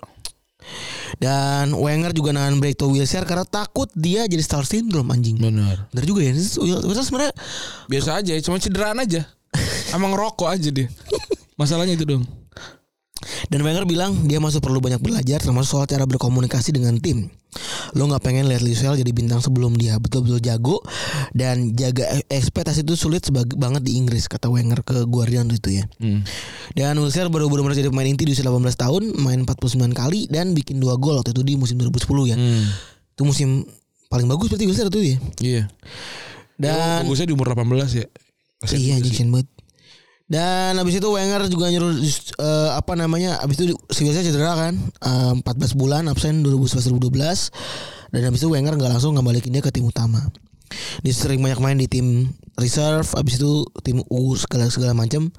Speaker 2: Dan Wenger juga nahan break to Wilshere karena takut dia jadi star syndrome anjing.
Speaker 3: Benar.
Speaker 2: Bener juga ya. Wilshere sebenarnya
Speaker 3: Biasa aja, ya, cuma cederaan aja. Emang rokok aja dia. Masalahnya itu dong.
Speaker 2: dan Wenger bilang dia masih perlu banyak belajar termasuk soal cara berkomunikasi dengan tim. Lo nggak pengen lihat Wilshere jadi bintang sebelum dia betul-betul jago dan jaga ekspektasi itu sulit sebag- banget di Inggris kata Wenger ke Guardian itu ya.
Speaker 3: Hmm.
Speaker 2: Dan Wilshere baru-baru merasa jadi pemain inti di usia 18 tahun, main 49 kali dan bikin dua gol waktu itu di musim 2010 ya.
Speaker 3: Hmm.
Speaker 2: Itu musim paling bagus berarti Wilshere itu ya.
Speaker 3: Iya.
Speaker 2: Dan
Speaker 3: Bagusnya di umur 18 ya.
Speaker 2: Iya anjing kesian banget. Dan abis itu Wenger juga nyuruh eh, apa namanya abis itu si Wilshere cedera kan eh, 14 bulan absen 2011-2012 dan abis itu Wenger nggak langsung ngembalikin dia ke tim utama. Dia sering banyak main di tim reserve abis itu tim U segala segala macam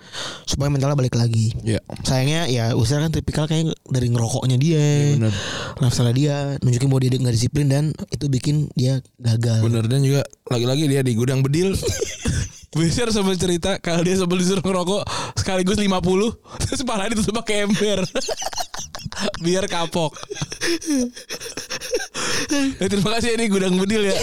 Speaker 2: supaya mentalnya balik lagi.
Speaker 3: Iya.
Speaker 2: Sayangnya ya Wilshere kan tipikal kayak dari ngerokoknya dia,
Speaker 3: benar.
Speaker 2: lifestyle dia nunjukin bahwa dia nggak disiplin dan itu bikin dia gagal.
Speaker 3: Bener dan juga lagi-lagi dia di gudang bedil. Besar sampai cerita kalau dia sambil disuruh ngerokok sekaligus 50 terus parah itu pakai ember. Biar kapok. Ya, terima kasih ini gudang bedil ya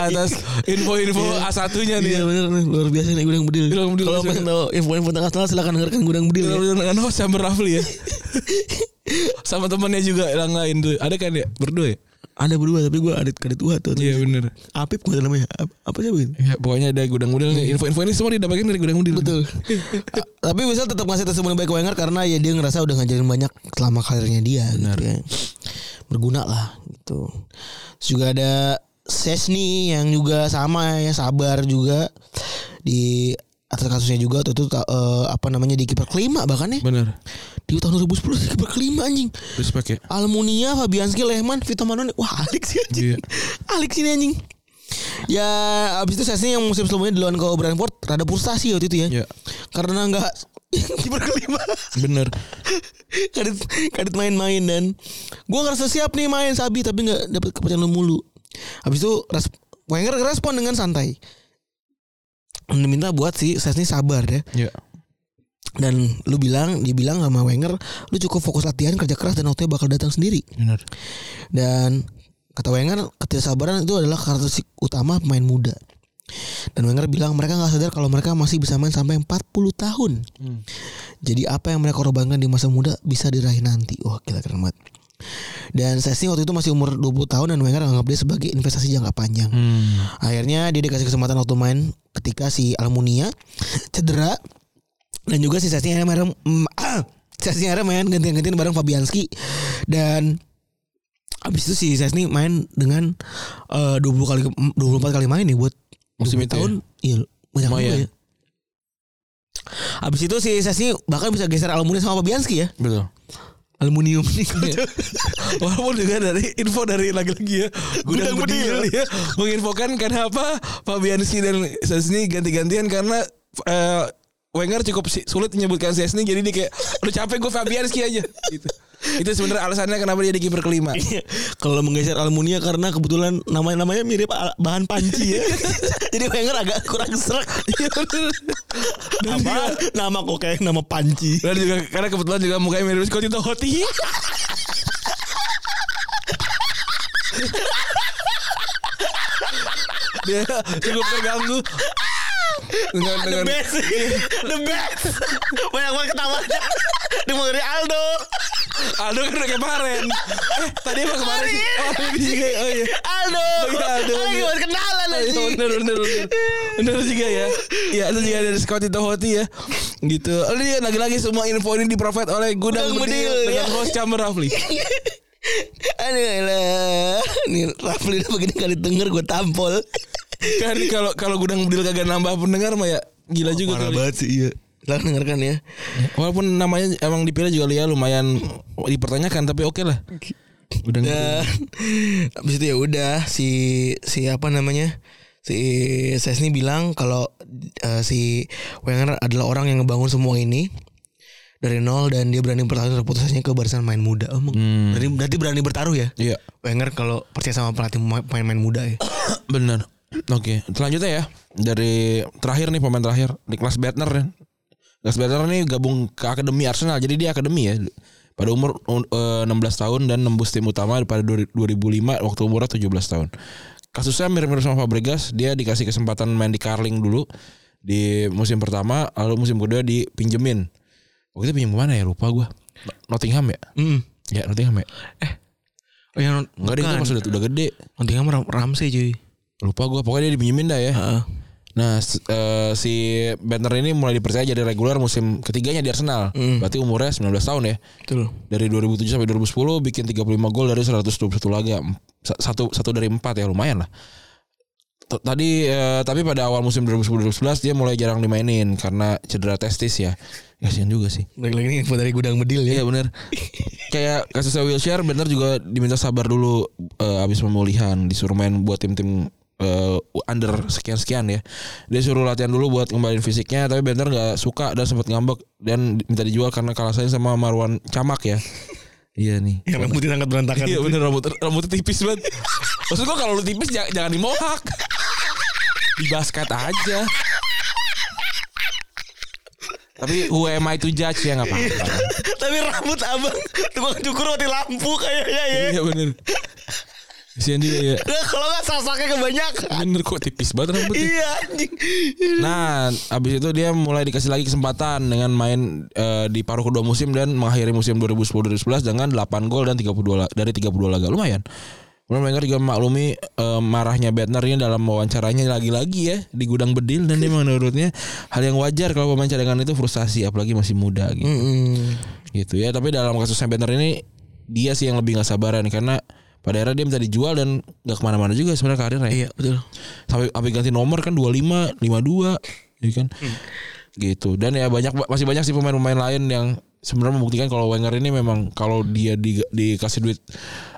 Speaker 3: atas info-info A1-nya nih.
Speaker 2: Iya bener nih, luar biasa nih gudang bedil.
Speaker 3: Iya, Gudang bedil, Iya,
Speaker 2: Kalau
Speaker 3: luar
Speaker 2: pengen tahu info-info tentang Arsenal silakan dengarkan gudang bedil. ya.
Speaker 3: Bener-bener Dengan host Chamber Rafli ya. Sama temannya juga yang lain tuh. Ada kan ya? Berdua ya?
Speaker 2: Ada berdua tapi gue adit kadit tua tuh.
Speaker 3: Iya bener.
Speaker 2: Apip gue namanya. Ap- Apa sih begitu?
Speaker 3: Ya, pokoknya ada gudang bedil. nih. Info-info ini semua didapatkan dari gudang bedil.
Speaker 2: Iya. Betul. A- tapi misal tetap ngasih testimoni baik ke Wenger karena ya dia ngerasa udah ngajarin banyak selama karirnya dia gitu ya. Berguna lah gitu. Terus juga ada Sesni yang juga sama ya sabar juga di atas kasusnya juga tuh, tuh ta- eh, apa namanya di kiper kelima bahkan ya
Speaker 3: Bener.
Speaker 2: di tahun 2010 di kiper kelima anjing
Speaker 3: Respect ya.
Speaker 2: Almunia, Fabianski, Lehman, Vito Manone. Wah, Alex sih ya, anjing.
Speaker 3: Iya.
Speaker 2: Alex ini anjing. ya abis itu sesi yang musim sebelumnya di lawan ke Brentford rada frustasi waktu itu ya.
Speaker 3: Iya.
Speaker 2: Karena nggak kiper kelima
Speaker 3: Bener.
Speaker 2: kadit kadit main-main dan gua ngerasa siap nih main Sabi tapi nggak dapet kepercayaan mulu. Habis itu res Wenger respon dengan santai. Diminta buat si Sesni sabar ya.
Speaker 3: Iya.
Speaker 2: Dan lu bilang, dibilang sama Wenger, lu cukup fokus latihan, kerja keras dan waktunya bakal datang sendiri.
Speaker 3: Bener.
Speaker 2: Dan kata Wenger, ketidaksabaran itu adalah karakteristik utama pemain muda. Dan Wenger bilang mereka nggak sadar kalau mereka masih bisa main sampai 40 tahun. Jadi apa yang mereka korbankan di masa muda bisa diraih nanti. Wah gila keren banget. Dan Sesi waktu itu masih umur 20 tahun dan Wenger anggap dia sebagai investasi jangka panjang.
Speaker 3: Hmm.
Speaker 2: Akhirnya dia dikasih kesempatan waktu main ketika si Almunia cedera dan juga si Sesni akhirnya main, Sesni akhirnya mm, main gantian-gantian bareng Fabianski dan abis itu si Sesni main dengan eh, 20 kali 24 kali main nih buat
Speaker 3: Musim
Speaker 2: 20
Speaker 3: itu ya? Oh,
Speaker 2: tahun. Iya, banyak
Speaker 3: Lumayan.
Speaker 2: juga ya. Abis itu si Sesni bahkan bisa geser Almunia sama Fabianski ya.
Speaker 3: Betul.
Speaker 2: Aluminium nih Walaupun juga dari info dari lagi-lagi ya Gudang,
Speaker 3: Gudang
Speaker 2: bedil,
Speaker 3: bedil.
Speaker 2: ya
Speaker 3: Menginfokan kenapa Fabianski dan Sesni ganti-gantian karena eh, Wenger cukup si- sulit menyebutkan Sesni jadi dia kayak udah capek gue Fabianski aja gitu. Itu sebenarnya alasannya kenapa dia di kiper kelima.
Speaker 2: Iya. Kalau menggeser Almunia karena kebetulan namanya-namanya mirip al- bahan panci ya. Jadi Wenger agak kurang serak. Apa? Nama kok kayak nama panci.
Speaker 3: Dan juga karena kebetulan juga mukanya mirip Scott itu Hoti. dia cukup terganggu dengan dengan
Speaker 2: The best. Banyak banget ketawanya. Dimulai dari Aldo.
Speaker 3: Aldo kan udah kemarin. Eh, tadi apa kemarin sih? Oh,
Speaker 2: Kemarin.
Speaker 3: ini juga. Oh iya.
Speaker 2: Aldo.
Speaker 3: Oh, iya, Aldo.
Speaker 2: Lagi buat kenalan
Speaker 3: Oh, iya,
Speaker 2: anjing.
Speaker 3: bener, bener, bener. Bener juga ya. Ya, itu juga dari Scott itu Hoti ya. Gitu. Oh, ini lagi-lagi semua info ini diprovide oleh Gudang
Speaker 2: Gudang
Speaker 3: Bedil
Speaker 2: Bedil,
Speaker 3: dengan
Speaker 2: ya.
Speaker 3: host Chamber Rafli.
Speaker 2: Aduh lah. Nih Rafli udah begini kali denger gue tampol.
Speaker 3: kan kalau kalau gudang bedil kagak nambah pendengar mah ya gila juga kali.
Speaker 2: banget sih iya. Lah dengarkan ya.
Speaker 3: Walaupun namanya emang dipilih juga ya lumayan dipertanyakan tapi oke lah. Gudang bedil.
Speaker 2: Dan abis itu ya udah si si apa namanya si Sesni bilang kalau eh, si Wenger adalah orang yang ngebangun semua ini dari nol dan dia berani bertaruh reputasnya ke barisan main muda. Oh, Emang
Speaker 3: Hmm.
Speaker 2: berarti, berarti berani bertaruh ya?
Speaker 3: Iya,
Speaker 2: Wenger kalau percaya sama pelatih ma- pemain-pemain muda ya.
Speaker 3: benar. Oke, selanjutnya ya dari terakhir nih pemain terakhir Niklas Bettner. Niklas Bettner nih gabung ke akademi Arsenal. Jadi dia akademi ya. Pada umur eh, 16 tahun dan nembus tim utama pada 2005 waktu umurnya 17 tahun. Kasusnya mirip-mirip sama Fabregas, dia dikasih kesempatan main di Carling dulu di musim pertama, lalu musim kedua dipinjemin. Waktu itu pinjem kemana ya? Lupa gua. Nottingham ya?
Speaker 2: Mm.
Speaker 3: Ya Nottingham ya.
Speaker 2: Oh ya
Speaker 3: Enggak deh iya, itu pas udah, udah gede.
Speaker 2: Nottingham Ram- Ramsey cuy.
Speaker 3: Lupa gua pokoknya dia dipinjemin dah ya.
Speaker 2: Heeh.
Speaker 3: Nah, s- eh, si Bentner ini mulai dipercaya jadi reguler musim ketiganya di Arsenal. Berarti umurnya 19 tahun ya.
Speaker 2: Betul.
Speaker 3: Dari 2007 sampai 2010 bikin 35 gol dari 121 laga. Em- sa- Satu satu dari empat ya lumayan lah. T- Tadi eh, tapi pada awal musim 2010-2011 dia mulai jarang dimainin karena cedera testis ya. Kasian juga sih.
Speaker 2: Lagi lagi info dari gudang bedil ya.
Speaker 3: Iya bener Kayak kasusnya Wilshere bener juga diminta sabar dulu eh, Abis pemulihan Disuruh main buat tim-tim eh, Under sekian-sekian ya Dia suruh latihan dulu buat kembaliin fisiknya Tapi bener gak suka dan sempat ngambek Dan minta dijual karena kalah saing sama Marwan Camak ya Iya nih
Speaker 2: Yang rambutnya sangat berantakan.
Speaker 3: Iya bener rambut rambutnya tipis banget. Maksud gua kalau lu tipis jangan, jangan dimohak. Di basket aja. Tapi who am I to judge ya nggak apa-apa.
Speaker 2: Tapi rambut abang tukang cukur mati lampu kayaknya ya.
Speaker 3: Iya bener. Kasian juga ya.
Speaker 2: Nah, kalau nggak sasaknya kebanyakan.
Speaker 3: Bener kok tipis banget rambutnya.
Speaker 2: Iya anjing.
Speaker 3: Nah, abis itu dia mulai dikasih lagi kesempatan dengan main eh, di paruh kedua musim dan mengakhiri musim 2010-2011 dengan 8 gol dan 32 la- dari 32 laga. Lumayan. Kemudian Wenger juga maklumi eh, marahnya Bettner ini dalam wawancaranya lagi-lagi ya di gudang bedil dan dia menurutnya hal yang wajar kalau pemain cadangan itu frustasi apalagi masih muda gitu. Gitu ya, tapi dalam kasusnya Bettner ini dia sih yang lebih nggak sabaran karena pada era dia minta dijual dan nggak kemana-mana juga sebenarnya karirnya
Speaker 2: Iya betul.
Speaker 3: sampai sampai ganti nomor kan 25 52 ya kan
Speaker 2: Hmm.
Speaker 3: gitu dan ya banyak masih banyak sih pemain-pemain lain yang sebenarnya membuktikan kalau Wenger ini memang kalau dia di, dikasih duit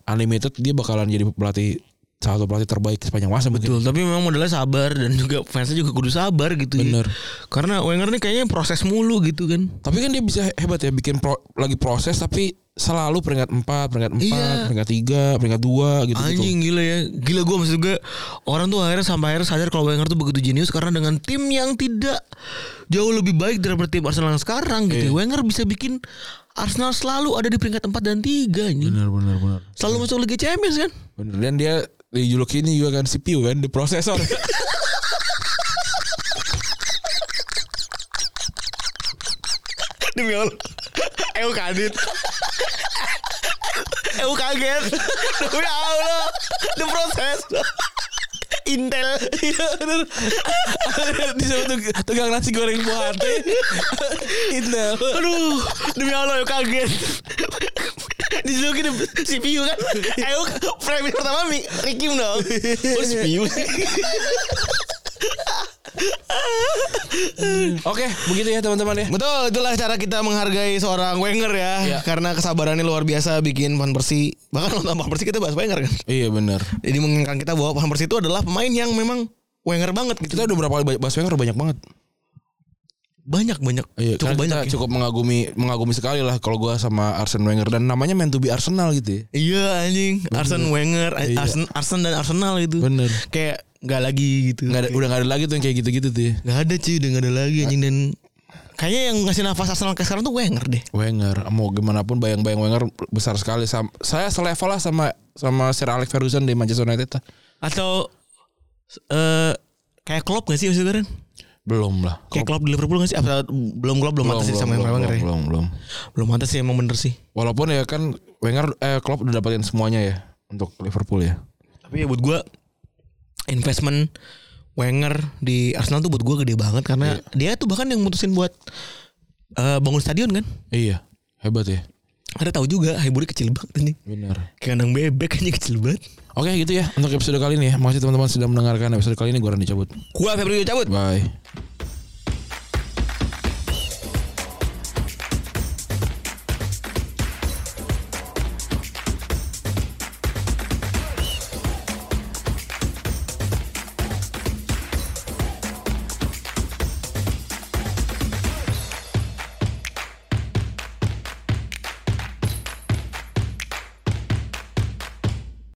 Speaker 3: unlimited dia bakalan jadi pelatih salah satu pelatih terbaik sepanjang masa mungkin.
Speaker 2: Betul, tapi memang modalnya sabar dan juga fansnya juga kudu sabar gitu.
Speaker 3: Bener.
Speaker 2: Karena Wenger nih kayaknya proses mulu gitu kan.
Speaker 3: Tapi kan dia bisa hebat ya bikin pro- lagi proses tapi selalu peringkat 4, peringkat 4,
Speaker 2: Iya.
Speaker 3: peringkat 3, peringkat 2 gitu gitu.
Speaker 2: Anjing gila ya. Gila gue maksud gue orang tuh akhirnya sampai akhirnya sadar kalau Wenger tuh begitu jenius karena dengan tim yang tidak jauh lebih baik daripada tim Arsenal yang sekarang gitu.
Speaker 3: Iya.
Speaker 2: Wenger bisa bikin Arsenal selalu ada di peringkat 4 dan 3 anjing.
Speaker 3: Benar benar benar.
Speaker 2: Selalu masuk Liga Champions kan?
Speaker 3: Bener dan dia dijuluki ini juga kan CPU kan, the processor.
Speaker 2: Demi Allah. Eu kaget. Eu kaget. Demi Allah. The process. Intel.
Speaker 3: Iya, Disuruh tug- tukang nasi goreng buate. Indah.
Speaker 2: Aduh, demi Allah eu kaget. Dijulukin CPU kan. Eu premis pertama mi Rikim dong. Oh, CPU.
Speaker 3: Oke, begitu ya teman-teman ya.
Speaker 2: Betul, itulah cara kita menghargai seorang Wenger ya.
Speaker 3: Iya.
Speaker 2: Karena kesabarannya luar biasa bikin Van Persie. Bahkan nonton Van Persie kita bahas Wenger kan.
Speaker 3: Iya benar.
Speaker 2: Jadi menginginkan kita bahwa Van Persie itu adalah pemain yang memang Wenger banget gitu.
Speaker 3: Kita udah berapa kali bahas Wenger banyak banget.
Speaker 2: banyak banyak
Speaker 3: Iya,
Speaker 2: cukup banyak ya.
Speaker 3: cukup mengagumi mengagumi sekali lah kalau gua sama Arsene Wenger dan namanya meant to be Arsenal gitu ya.
Speaker 2: iya anjing Arsene Wenger eh,
Speaker 3: Iya.
Speaker 2: Arsen Arsene dan Arsenal gitu
Speaker 3: Bener.
Speaker 2: kayak nggak lagi gitu
Speaker 3: Nggak ada, udah nggak ada lagi tuh yang kayak gitu-gitu tuh. ya.
Speaker 2: nggak ada cuy udah nggak ada lagi anjing dan kayaknya yang ngasih nafas Arsenal ke sekarang tuh Wenger deh
Speaker 3: Wenger mau gimana pun bayang-bayang Wenger besar sekali Sam- saya selevel lah sama sama Sir Alex Ferguson di Manchester United lah.
Speaker 2: atau eh kayak Klopp gak sih maksudnya kan
Speaker 3: belum lah
Speaker 2: kayak Klopp di Liverpool gak sih Apa, belum Klopp belum,
Speaker 3: belum
Speaker 2: atas sih
Speaker 3: belum,
Speaker 2: sama yang
Speaker 3: belum,
Speaker 2: Wenger ya
Speaker 3: belum, belum.
Speaker 2: belum atas sih emang bener sih
Speaker 3: walaupun ya kan Wenger eh, Klopp udah dapetin semuanya ya untuk Liverpool ya
Speaker 2: Tapi ya buat gue investment Wenger di Arsenal tuh buat gue gede banget karena dia tuh bahkan yang mutusin buat eh, bangun stadion kan.
Speaker 3: iya hebat ya
Speaker 2: Ada tahu juga Highbury kecil banget ini.
Speaker 3: benar
Speaker 2: Kayak Kandang bebek aja kecil banget.
Speaker 3: oke gitu ya untuk episode kali ini ya makasih teman-teman sudah mendengarkan episode kali ini gue Randy cabut
Speaker 2: Gua Febrio cabut.
Speaker 3: bye